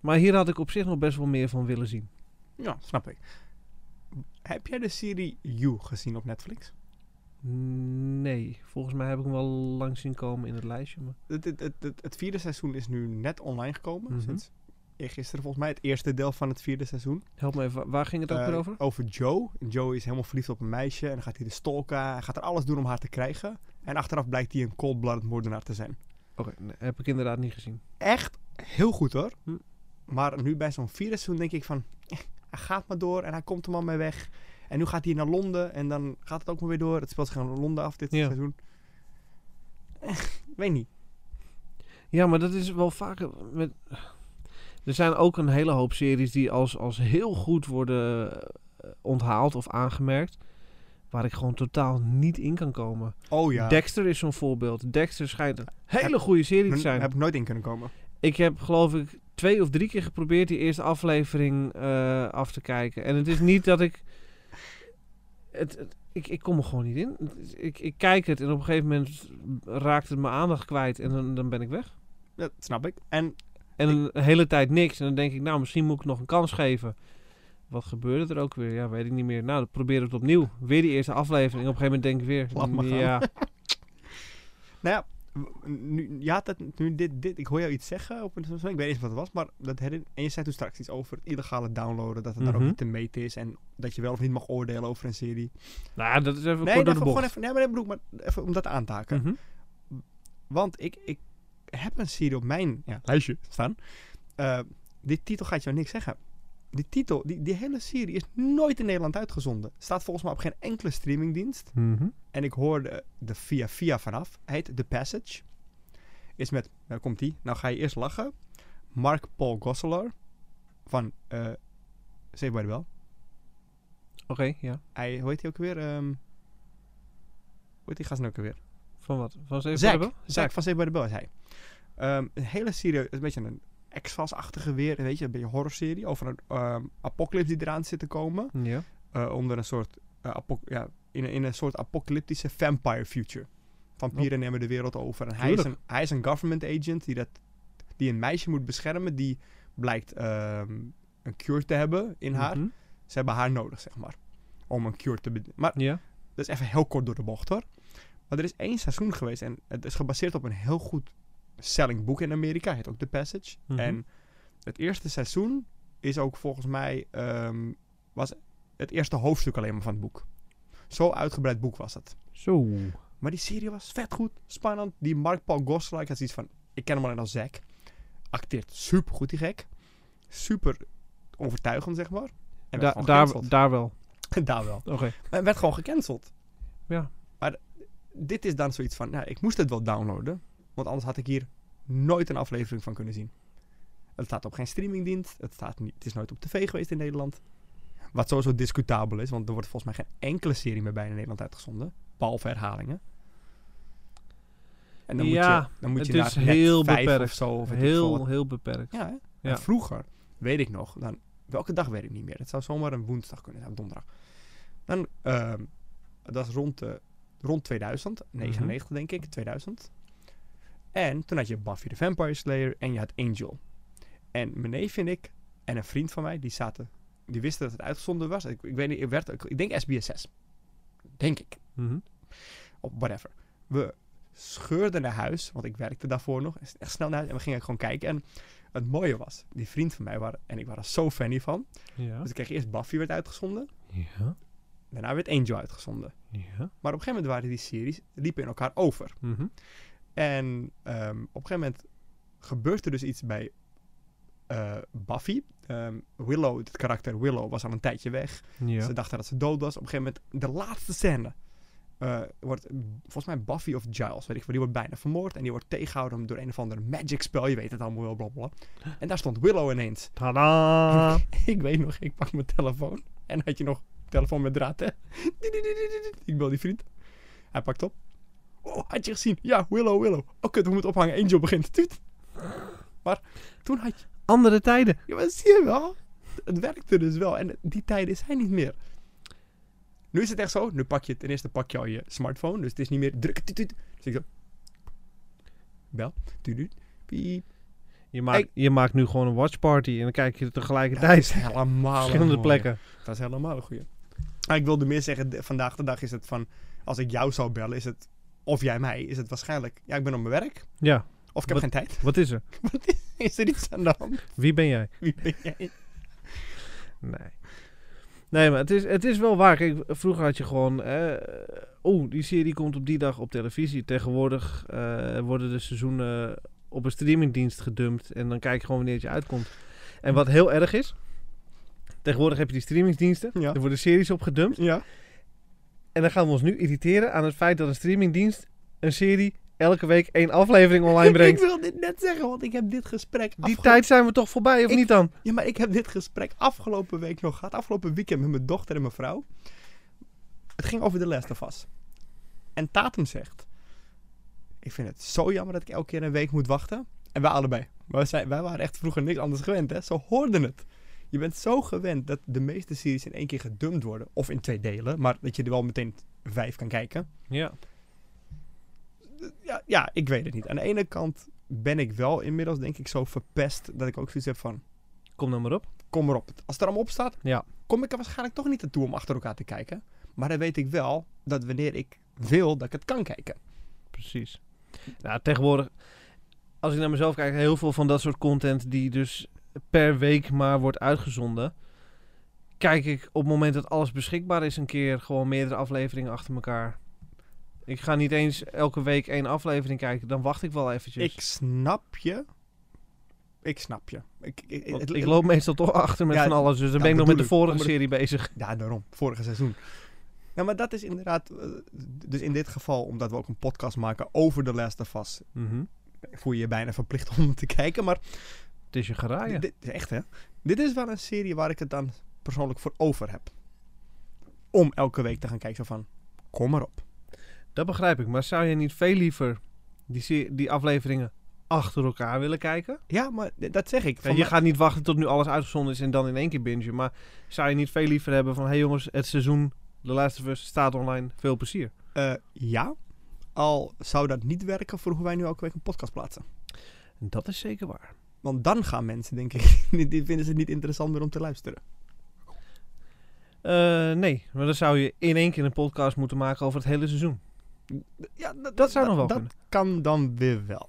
Speaker 2: Maar hier had ik op zich nog best wel meer van willen zien.
Speaker 1: Ja, snap ik. Heb jij de serie You gezien op Netflix?
Speaker 2: Nee, volgens mij heb ik hem wel lang zien komen in het lijstje. Maar...
Speaker 1: Het, het, het, het, het vierde seizoen is nu net online gekomen.
Speaker 2: Mhm.
Speaker 1: Sinds gisteren volgens mij het eerste deel van het vierde seizoen.
Speaker 2: Help me even, wa- waar ging het ook
Speaker 1: Eh,
Speaker 2: weer over?
Speaker 1: Over Joe. En Joe is helemaal verliefd op een meisje. En dan gaat hij de stalken. Hij gaat er alles doen om haar te krijgen. En achteraf blijkt hij een cold-blooded moordenaar te zijn.
Speaker 2: Oké, nee, heb ik inderdaad niet gezien.
Speaker 1: Echt heel goed hoor.
Speaker 2: Hm.
Speaker 1: Maar nu bij zo'n vierde seizoen denk ik van... eh, Hij gaat maar door en hij komt er maar mee weg. En nu gaat hij naar Londen. En dan gaat het ook maar weer door. Het speelt zich in Londen af dit
Speaker 2: Ja.
Speaker 1: seizoen. Eh, Weet niet.
Speaker 2: Ja, maar dat is wel vaker met... Er zijn ook een hele hoop series die als, als heel goed worden eh, onthaald of aangemerkt. Waar ik gewoon totaal niet in kan komen.
Speaker 1: Oh ja.
Speaker 2: Dexter is zo'n voorbeeld. Dexter schijnt een hele goede serie te
Speaker 1: Daar
Speaker 2: zijn.
Speaker 1: heb ik nooit in kunnen komen.
Speaker 2: Ik heb geloof ik twee of drie keer geprobeerd die eerste aflevering eh, af te kijken. En het is niet dat ik... Het, het- ik, ik kom er gewoon niet in. Het is- Ik, ik kijk het en op een gegeven moment raakt het mijn aandacht kwijt en dan, dan ben ik weg.
Speaker 1: Dat snap ik. En
Speaker 2: En een hele tijd niks. En dan denk ik, nou, misschien moet ik nog een kans geven. Wat gebeurde er ook weer? Ja, weet ik niet meer. Nou, dan probeer ik het opnieuw. Weer die eerste aflevering. Op een gegeven moment denk ik
Speaker 1: Laat maar
Speaker 2: weer. mm,
Speaker 1: gaan.
Speaker 2: Ja,
Speaker 1: nou ja, w- nu, je had het, nu dit, dit, ik hoor jou iets zeggen, op een, ik weet niet eens wat het was, maar dat herin, en je zei toen straks iets over het illegale downloaden, dat het daar
Speaker 2: Mhm.
Speaker 1: ook niet te meten is en dat je wel of niet mag oordelen over een serie.
Speaker 2: nou, dat is even
Speaker 1: nee, daarvoor
Speaker 2: kort door de bocht.
Speaker 1: gewoon even, nee, maar, nee, bedoel ik, maar even om dat aan te haken.
Speaker 2: Mhm.
Speaker 1: Want ik, ik heb een serie op mijn ja, lijstje staan. Eh, die titel gaat jou niks zeggen. Die titel, die, die hele serie is nooit in Nederland uitgezonden. Staat volgens mij op geen enkele streamingdienst.
Speaker 2: Mhm.
Speaker 1: En ik hoorde de via via vanaf. Heet The Passage. Is met, nou komt die. Nou ga je eerst lachen. Mark Paul Gosselaar van eh Save by the Bell.
Speaker 2: Oké, ja.
Speaker 1: Hij, hoe heet hij ook weer? Ehm hoe heet die gast nou ook weer?
Speaker 2: Van wat? Van zeven
Speaker 1: Zack.
Speaker 2: hebben?
Speaker 1: Zack van Save by the Bell is hij. Ehm, een hele serie, een beetje een X-Files-achtige weer, weet je, een beetje een horrorserie over een ehm apocalypse die eraan zit te komen.
Speaker 2: Ja.
Speaker 1: eh, onder een soort, eh, apo- ja, in, een- in een soort apocalyptische vampire future. Vampieren nemen de wereld over. En hij is, een,
Speaker 2: Tuurlijk.
Speaker 1: hij is een government agent die, dat, die een meisje moet beschermen die blijkt ehm, een cure te hebben in haar.
Speaker 2: Mhm.
Speaker 1: Ze hebben haar nodig, zeg maar, om een cure te bed- Maar
Speaker 2: Ja.
Speaker 1: dat is even heel kort door de bocht hoor. Maar er is één seizoen geweest en het is gebaseerd op een heel goed selling boek in Amerika. Heet ook The Passage.
Speaker 2: Mhm.
Speaker 1: En het eerste seizoen is ook volgens mij ehm, was het eerste hoofdstuk alleen maar van het boek. Zo uitgebreid boek was het.
Speaker 2: Zo.
Speaker 1: Maar die serie was vet goed, spannend. Die Mark Paul Gosselaar, ik had zoiets van, ik ken hem alleen als Zack. Acteert super goed die gek. Super overtuigend zeg maar. En werd
Speaker 2: Da-
Speaker 1: gewoon
Speaker 2: daar,
Speaker 1: gecanceld.
Speaker 2: daar wel.
Speaker 1: daar wel.
Speaker 2: Oké.
Speaker 1: Maar het werd gewoon gecanceld.
Speaker 2: Ja.
Speaker 1: Maar dit is dan zoiets van, nou, ik moest het wel downloaden. Want anders had ik hier nooit een aflevering van kunnen zien. Het staat op geen streamingdienst. Het, staat niet, het is nooit op tv geweest in Nederland. Wat sowieso discutabel is, want er wordt volgens mij geen enkele serie meer bij in Nederland uitgezonden. Behalve herhalingen. En dan
Speaker 2: Ja,
Speaker 1: moet je, dan moet je
Speaker 2: het
Speaker 1: naar
Speaker 2: is heel
Speaker 1: net vijf
Speaker 2: beperkt.
Speaker 1: of zo. Of weet ik veel wat.
Speaker 2: Heel, heel beperkt.
Speaker 1: Ja, hè?
Speaker 2: Ja.
Speaker 1: En vroeger, weet ik nog, dan, welke dag weet ik niet meer. Het zou zomaar een woensdag kunnen zijn, of donderdag. Dan, ehm, dat is rond, de rond 2000, 99 denk ik, 2000. En toen had je Buffy the Vampire Slayer en je had Angel. En mijn neef en ik en een vriend van mij, die zaten, die wisten dat het uitgezonden was. Ik, ik weet niet, ik, werd, ik, ik denk SBS6. Denk ik
Speaker 2: Mhm.
Speaker 1: op whatever. We scheurden naar huis, want ik werkte daarvoor nog. Echt snel naar huis en we gingen gewoon kijken. En het mooie was, die vriend van mij waren, en ik waren zo fan hiervan.
Speaker 2: Ja.
Speaker 1: Dus ik kreeg eerst Buffy werd uitgezonden,
Speaker 2: Ja.
Speaker 1: daarna werd Angel uitgezonden.
Speaker 2: Ja.
Speaker 1: Maar op een gegeven moment waren die series, liepen in elkaar over.
Speaker 2: Mhm.
Speaker 1: En ehm, op een gegeven moment gebeurt er dus iets bij eh, Buffy. Ehm, Willow, het karakter Willow, was al een tijdje weg.
Speaker 2: Ja.
Speaker 1: Ze dachten dat ze dood was. Op een gegeven moment, de laatste scène. eh, wordt mm, volgens mij Buffy of Giles, weet ik veel. Die wordt bijna vermoord. En die wordt tegengehouden door een of ander magic spel. Je weet het allemaal wel, blablabla. En daar stond Willow ineens.
Speaker 2: Tadaa.
Speaker 1: ik weet nog, ik pak mijn telefoon. En had je nog telefoon met draad, hè? ik bel die vriend. Hij pakt op. Oh, had je gezien? Ja, Willow, Willow. Oh, kut, we moeten ophangen. Angel begint. Tuut. Maar toen had je...
Speaker 2: Andere tijden.
Speaker 1: Ja, maar zie je wel? Het werkte dus wel. En die tijden zijn niet meer. Nu is het echt zo. Nu pak je ten eerste pak je al je smartphone. Dus het is niet meer druk. Tuut, tuut. Dus ik zo. Bel. Tuut, tuut. Piep.
Speaker 2: Je maakt,
Speaker 1: Ik-
Speaker 2: je maakt nu gewoon een watchparty en dan kijk je
Speaker 1: Dat
Speaker 2: tegelijkertijd
Speaker 1: is helemaal een
Speaker 2: verschillende
Speaker 1: mooie.
Speaker 2: plekken.
Speaker 1: Dat is helemaal een goeie. Maar ik wilde meer zeggen. de- vandaag de dag is het van. Als ik jou zou bellen, is het. Of jij mij, is het waarschijnlijk. Ja, ik ben op mijn werk.
Speaker 2: Ja.
Speaker 1: Of ik heb geen tijd.
Speaker 2: Wat is er?
Speaker 1: Is er iets aan de hand?
Speaker 2: Wie ben jij?
Speaker 1: Wie ben jij?
Speaker 2: Nee. Nee, maar het is, het is wel waar. Kijk, vroeger had je gewoon... eh, oh, die serie komt op die dag op televisie. Tegenwoordig eh, worden de seizoenen op een streamingdienst gedumpt. En dan kijk je gewoon wanneer het je uitkomt. En wat heel erg is... Tegenwoordig heb je die streamingsdiensten.
Speaker 1: Ja.
Speaker 2: Er worden series op gedumpt.
Speaker 1: Ja.
Speaker 2: En dan gaan we ons nu irriteren aan het feit dat een streamingdienst... een serie elke week één aflevering online
Speaker 1: Ik
Speaker 2: brengt.
Speaker 1: wil dit net zeggen, want ik heb dit gesprek...
Speaker 2: Die
Speaker 1: afge-
Speaker 2: tijd zijn we toch voorbij, of
Speaker 1: Ik-
Speaker 2: niet dan?
Speaker 1: Ja, maar ik heb dit gesprek afgelopen week nog gehad. Afgelopen weekend met mijn dochter en mijn vrouw. Het ging over de Last of Us. En Tatum zegt... Ik vind het zo jammer dat ik elke keer een week moet wachten. En wij allebei. Wij, zijn, wij waren echt vroeger niks anders gewend, hè. Ze hoorden het. Je bent zo gewend dat de meeste series in één keer gedumpt worden. Of in twee delen. Maar dat je er wel meteen vijf kan kijken.
Speaker 2: Ja.
Speaker 1: ja, ja, ik weet het niet. Aan de ene kant ben ik wel inmiddels, denk ik, zo verpest dat ik ook zoiets heb van:
Speaker 2: Kom dan maar op.
Speaker 1: kom erop. Als het er allemaal op staat,
Speaker 2: Ja.
Speaker 1: kom ik er waarschijnlijk toch niet naartoe om achter elkaar te kijken. Maar dan weet ik wel dat wanneer ik wil, dat ik het kan kijken.
Speaker 2: Precies. Nou, tegenwoordig, als ik naar mezelf kijk, heel veel van dat soort content die dus per week maar wordt uitgezonden, kijk ik op het moment dat alles beschikbaar is een keer gewoon meerdere afleveringen achter elkaar. Ik ga niet eens elke week één aflevering kijken, dan wacht ik wel eventjes.
Speaker 1: Ik snap je. Ik snap je. Ik, ik,
Speaker 2: Want
Speaker 1: het-
Speaker 2: ik loop meestal toch achter met
Speaker 1: Ja,
Speaker 2: van alles, dus dan
Speaker 1: dat
Speaker 2: ben ik nog met de
Speaker 1: bedoel ik.
Speaker 2: vorige
Speaker 1: Omdat-
Speaker 2: serie bezig.
Speaker 1: Ja, daarom. Vorige seizoen. Nou, maar dat is inderdaad. eh, Dus in dit geval, omdat we ook een podcast maken over de Last of Us,
Speaker 2: Mhm.
Speaker 1: voel je je bijna verplicht om te kijken. Maar
Speaker 2: Het is je geraaien.
Speaker 1: Dit, dit- echt hè? Dit is wel een serie waar ik het dan persoonlijk voor over heb. Om elke week te gaan kijken zo van, kom maar op.
Speaker 2: Dat begrijp ik, maar zou je niet veel liever die, se- die afleveringen achter elkaar willen kijken?
Speaker 1: Ja, maar d- dat zeg ik.
Speaker 2: Ja,
Speaker 1: Van
Speaker 2: je
Speaker 1: mij-
Speaker 2: gaat niet wachten tot nu alles uitgezonden is en dan in één keer bingen. Maar zou je niet veel liever hebben van... Hé hey jongens, het seizoen de laatste of Us staat online. Veel plezier.
Speaker 1: eh, ja, al zou dat niet werken voor hoe wij nu elke week een podcast plaatsen.
Speaker 2: Dat is zeker waar.
Speaker 1: Want dan gaan mensen, denk ik, die die vinden ze niet interessant meer om te luisteren.
Speaker 2: Eh, nee, maar dan zou je in één keer een podcast moeten maken over het hele seizoen.
Speaker 1: Ja, dat,
Speaker 2: Dat zou nog wel
Speaker 1: dat
Speaker 2: kunnen.
Speaker 1: kan dan weer wel.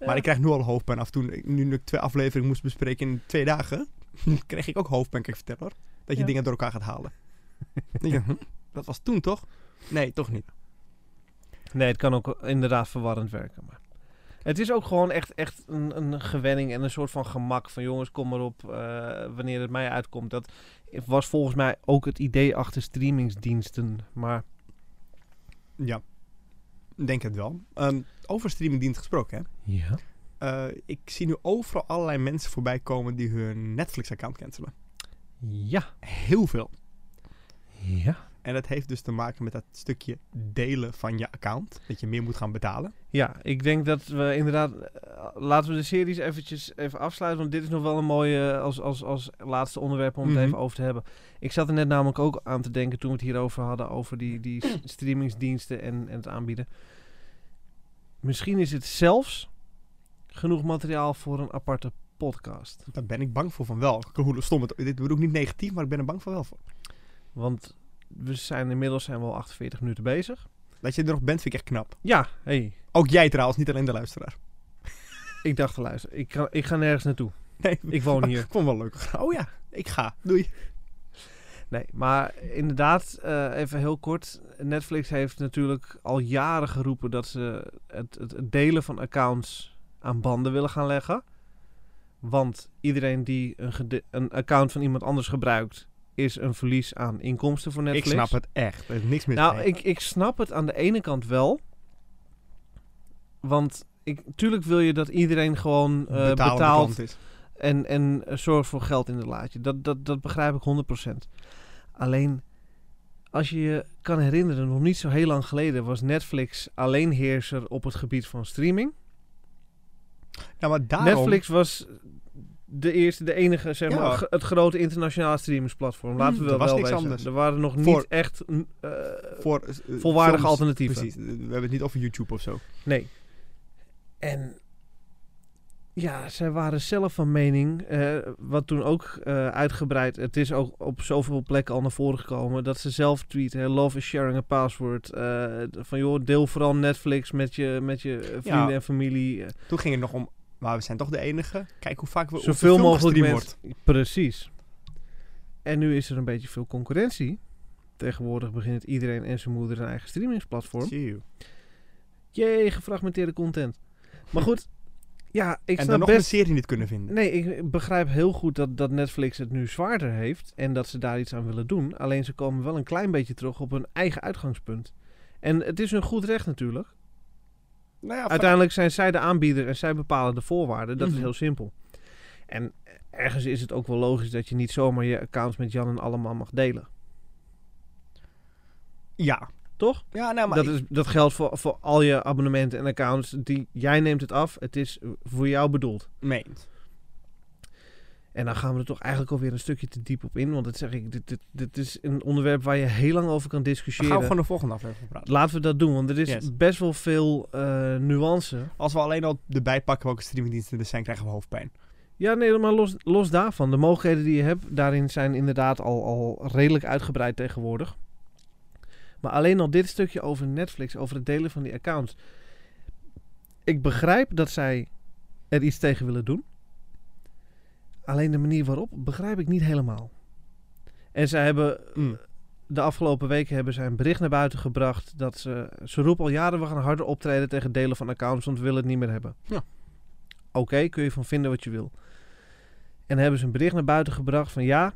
Speaker 2: Ja.
Speaker 1: Maar ik krijg nu al hoofdpijn af. Toen, ik- nu ik twee afleveringen moest bespreken in twee dagen, kreeg ik ook hoofdpijn, kan ik vertellen hoor. Dat je
Speaker 2: Ja.
Speaker 1: dingen door elkaar gaat halen. Dan denk je, hm, dat was toen toch? Nee, toch niet.
Speaker 2: Nee, het kan ook inderdaad verwarrend werken. Maar het is ook gewoon echt, echt een, een gewenning en een soort van gemak. Van jongens, kom maar op eh, wanneer het mij uitkomt. Dat was volgens mij ook het idee achter streamingsdiensten. Maar
Speaker 1: Ja, Ik denk het wel. Ehm, over streamingdienst gesproken, hè.
Speaker 2: ja.
Speaker 1: Eh, ik zie nu overal allerlei mensen voorbij komen die hun Netflix-account cancelen.
Speaker 2: Ja.
Speaker 1: Heel veel.
Speaker 2: Ja.
Speaker 1: En dat heeft dus te maken met dat stukje delen van je account. Dat je meer moet gaan betalen.
Speaker 2: Ja, ik denk dat we inderdaad. eh, Laten we de series eventjes even afsluiten. Want dit is nog wel een mooie eh, als, als, als laatste onderwerp om
Speaker 1: Mhm.
Speaker 2: het even over te hebben. Ik zat er net namelijk ook aan te denken toen we het hierover hadden. Over die, die s- streamingsdiensten en, en het aanbieden. Misschien is het zelfs genoeg materiaal voor een aparte podcast.
Speaker 1: Daar ben ik bang voor van wel. Hoe stom het. Dit bedoel ik niet negatief, maar ik ben er bang voor wel voor.
Speaker 2: Want we zijn inmiddels zijn we al 48 minuten bezig.
Speaker 1: Dat je er nog bent vind ik echt knap.
Speaker 2: Ja, hey,
Speaker 1: Ook jij trouwens, niet alleen de luisteraar.
Speaker 2: ik dacht te luisteren. Ik, kan, ik ga nergens naartoe.
Speaker 1: Nee,
Speaker 2: Ik woon hier.
Speaker 1: vond wel leuk. Oh ja, ik ga. Doei.
Speaker 2: Nee, maar inderdaad, eh, even heel kort. Netflix heeft natuurlijk al jaren geroepen dat ze het, het, het delen van accounts aan banden willen gaan leggen. Want iedereen die een, gede- een account van iemand anders gebruikt, is een verlies aan inkomsten voor Netflix.
Speaker 1: Ik snap het echt. Er is niks mis
Speaker 2: Nou,
Speaker 1: mee.
Speaker 2: ik, ik snap het aan de ene kant wel. Want ik, tuurlijk wil je dat iedereen gewoon eh,
Speaker 1: Betalende
Speaker 2: betaalt
Speaker 1: klant is.
Speaker 2: en, en eh, zorg voor geld in het laadje. Dat, dat, dat begrijp ik 100%. Alleen, als je je kan herinneren, nog niet zo heel lang geleden was Netflix alleenheerser op het gebied van streaming.
Speaker 1: Nou, maar daarom...
Speaker 2: Netflix was de eerste, de enige, zeg
Speaker 1: Ja.
Speaker 2: maar, gr- het grote internationale streamingsplatform. Laten we
Speaker 1: Mm,
Speaker 2: wel
Speaker 1: er was
Speaker 2: wel
Speaker 1: niks
Speaker 2: wezen.
Speaker 1: anders.
Speaker 2: Er waren nog niet
Speaker 1: Voor-
Speaker 2: echt mm, eh,
Speaker 1: Voor, eh,
Speaker 2: volwaardige
Speaker 1: films-
Speaker 2: alternatieven.
Speaker 1: Precies. We hebben het niet over YouTube of zo.
Speaker 2: Nee. En Ja, zij waren zelf van mening, eh, wat toen ook eh, uitgebreid, het is ook op zoveel plekken al naar voren gekomen, dat ze zelf tweeten, hè, love is sharing a password, eh, van joh, deel vooral Netflix met je, met je vrienden
Speaker 1: Ja.
Speaker 2: en familie. eh,
Speaker 1: Toen ging het nog om, maar we zijn toch de enige. Kijk hoe vaak we op de
Speaker 2: Zoveel
Speaker 1: film
Speaker 2: mogelijk
Speaker 1: gestreamd
Speaker 2: mensen-
Speaker 1: wordt.
Speaker 2: Precies. En nu is er een beetje veel concurrentie. Tegenwoordig begint iedereen en zijn moeder een eigen streamingsplatform.
Speaker 1: Tjoe.
Speaker 2: Jee, gefragmenteerde content. Maar goed, ja, ik
Speaker 1: En
Speaker 2: snap
Speaker 1: dan nog een
Speaker 2: best...
Speaker 1: serie niet kunnen vinden.
Speaker 2: Nee, ik begrijp heel goed dat, dat Netflix het nu zwaarder heeft en dat ze daar iets aan willen doen. Alleen ze komen wel een klein beetje terug op hun eigen uitgangspunt. En het is hun goed recht natuurlijk.
Speaker 1: Nou ja, van-
Speaker 2: Uiteindelijk zijn zij de aanbieder en zij bepalen de voorwaarden. Dat
Speaker 1: Mhm.
Speaker 2: is heel simpel. En ergens is het ook wel logisch dat je niet zomaar je accounts met Jan en allemaal mag delen.
Speaker 1: Ja.
Speaker 2: Toch?
Speaker 1: Ja, nou, maar
Speaker 2: dat,
Speaker 1: ik-
Speaker 2: is, dat geldt voor, voor al je abonnementen en accounts. Die, jij neemt het af. Het is voor jou bedoeld.
Speaker 1: nee.
Speaker 2: En dan gaan we er toch eigenlijk alweer een stukje te diep op in. Want dat zeg ik, dit, dit, dit is een onderwerp waar je heel lang over kan
Speaker 1: We gaan
Speaker 2: discussiëren.
Speaker 1: van de volgende aflevering praten.
Speaker 2: Laten we dat doen, want er is
Speaker 1: Yes.
Speaker 2: best wel veel eh, nuance.
Speaker 1: Als we alleen al erbij pakken welke streamingdiensten er zijn, krijgen we hoofdpijn.
Speaker 2: Ja, nee, maar los, los daarvan. De mogelijkheden die je hebt, daarin zijn inderdaad al, al redelijk uitgebreid tegenwoordig. Maar alleen al dit stukje over Netflix, over het delen van die accounts. Ik begrijp dat zij er iets tegen willen doen. Alleen de manier waarop begrijp ik niet helemaal. En zij hebben eh,
Speaker 1: Mm.
Speaker 2: de afgelopen weken hebben zij een bericht naar buiten gebracht dat ze, ze roepen al jaren we gaan harder optreden tegen delen van accounts, want we willen het niet meer hebben.
Speaker 1: Ja.
Speaker 2: Oké, kun je van vinden wat je wil. En hebben ze een bericht naar buiten gebracht van ja,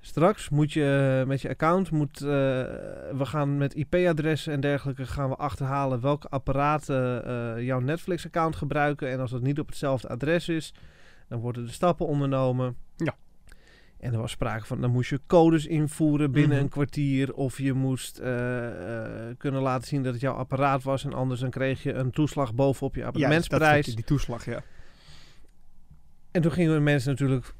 Speaker 2: straks moet je eh, met je account, moet, eh, we gaan met IP-adressen en dergelijke gaan we achterhalen welke apparaten eh, jouw Netflix-account gebruiken. En als dat niet op hetzelfde adres is, dan worden er stappen ondernomen.
Speaker 1: Ja.
Speaker 2: En er was sprake van, dan moest je codes invoeren binnen
Speaker 1: Mhm.
Speaker 2: een kwartier. Of je moest eh, eh, kunnen laten zien dat het jouw apparaat was. En anders dan kreeg je een toeslag bovenop je
Speaker 1: Ja, dat- dat-
Speaker 2: abonnementsprijs.
Speaker 1: die, die toeslag, ja.
Speaker 2: En toen gingen mensen natuurlijk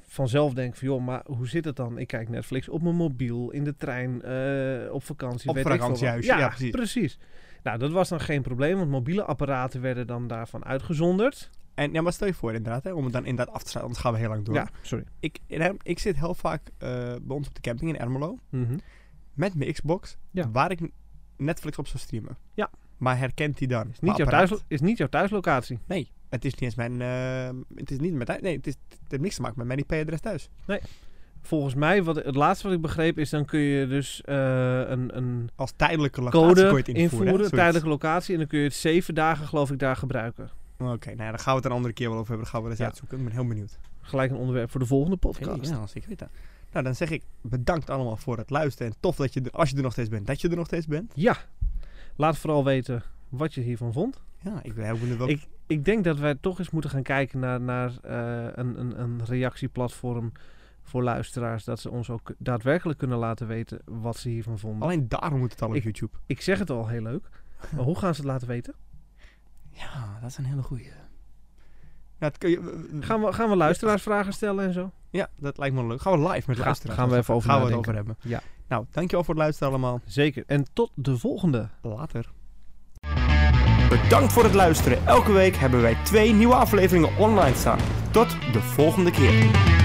Speaker 2: vanzelf denken van... joh, maar hoe zit het dan? Ik kijk Netflix op mijn mobiel, in de trein, eh, op vakantie.
Speaker 1: Op
Speaker 2: weet ik veel wat.
Speaker 1: vakantiehuis, ja, precies.
Speaker 2: Nou, dat was dan geen probleem, want mobiele apparaten werden dan daarvan uitgezonderd.
Speaker 1: En ja, maar stel je voor inderdaad, hè, om het dan inderdaad af te sluiten, anders gaan we heel lang door.
Speaker 2: Ja, sorry.
Speaker 1: Ik, in- ik zit heel vaak eh, bij ons op de camping in Ermelo
Speaker 2: Mhm.
Speaker 1: met mijn Xbox,
Speaker 2: Ja.
Speaker 1: waar ik Netflix op zou streamen.
Speaker 2: Ja.
Speaker 1: Maar herkent hij dan?
Speaker 2: Is, niet jouw
Speaker 1: mijn
Speaker 2: thuis,
Speaker 1: apparaat?
Speaker 2: is niet jouw thuislocatie.
Speaker 1: Nee, het is niet eens mijn. eh, het is niet mijn thuis. Nee, het, is, het heeft niks te maken met mijn IP-adres thuis.
Speaker 2: Volgens mij, wat, het laatste wat ik begreep, is dan kun je dus eh, een, een
Speaker 1: Als tijdelijke locatie
Speaker 2: code
Speaker 1: kun je het
Speaker 2: invoeren,
Speaker 1: invoeren. hè, zoiets.
Speaker 2: tijdelijke locatie. En dan kun je het zeven dagen, geloof ik, daar gebruiken.
Speaker 1: Oké, nou ja, daar gaan we het een andere keer wel over hebben. Dan gaan we dat eens
Speaker 2: Ja.
Speaker 1: uitzoeken. Ik ben heel benieuwd.
Speaker 2: Gelijk een onderwerp voor de volgende podcast.
Speaker 1: Hey, ja, zeker weten. Nou, dan zeg ik bedankt allemaal voor het luisteren. En tof dat je, er- als je er nog steeds bent, dat je er nog steeds bent.
Speaker 2: Ja, laat vooral weten wat je hiervan vond.
Speaker 1: Ja, ik ben heel benieuwd welke...
Speaker 2: Ik denk dat wij toch eens moeten gaan kijken naar, naar eh, een, een, een reactieplatform voor luisteraars. Dat ze ons ook daadwerkelijk kunnen laten weten wat ze hiervan vonden.
Speaker 1: Alleen daarom moet het al op
Speaker 2: Ik-
Speaker 1: YouTube.
Speaker 2: Ik zeg het al heel leuk. Maar hoe gaan ze het laten weten?
Speaker 1: Ja, dat is een hele goeie. Nou, dat kun je,
Speaker 2: Gaan we, gaan we luisteraarsvragen stellen en zo?
Speaker 1: Ja, dat lijkt me leuk. Gaan we live met
Speaker 2: Ga-
Speaker 1: luisteren.
Speaker 2: gaan we even over
Speaker 1: Gaan we het
Speaker 2: nadenken.
Speaker 1: over hebben.
Speaker 2: Ja.
Speaker 1: Nou, dankjewel voor het luisteren allemaal.
Speaker 2: Zeker. En tot de volgende.
Speaker 1: Later. Bedankt voor het luisteren. Elke week hebben wij twee nieuwe afleveringen online staan. Tot de volgende keer.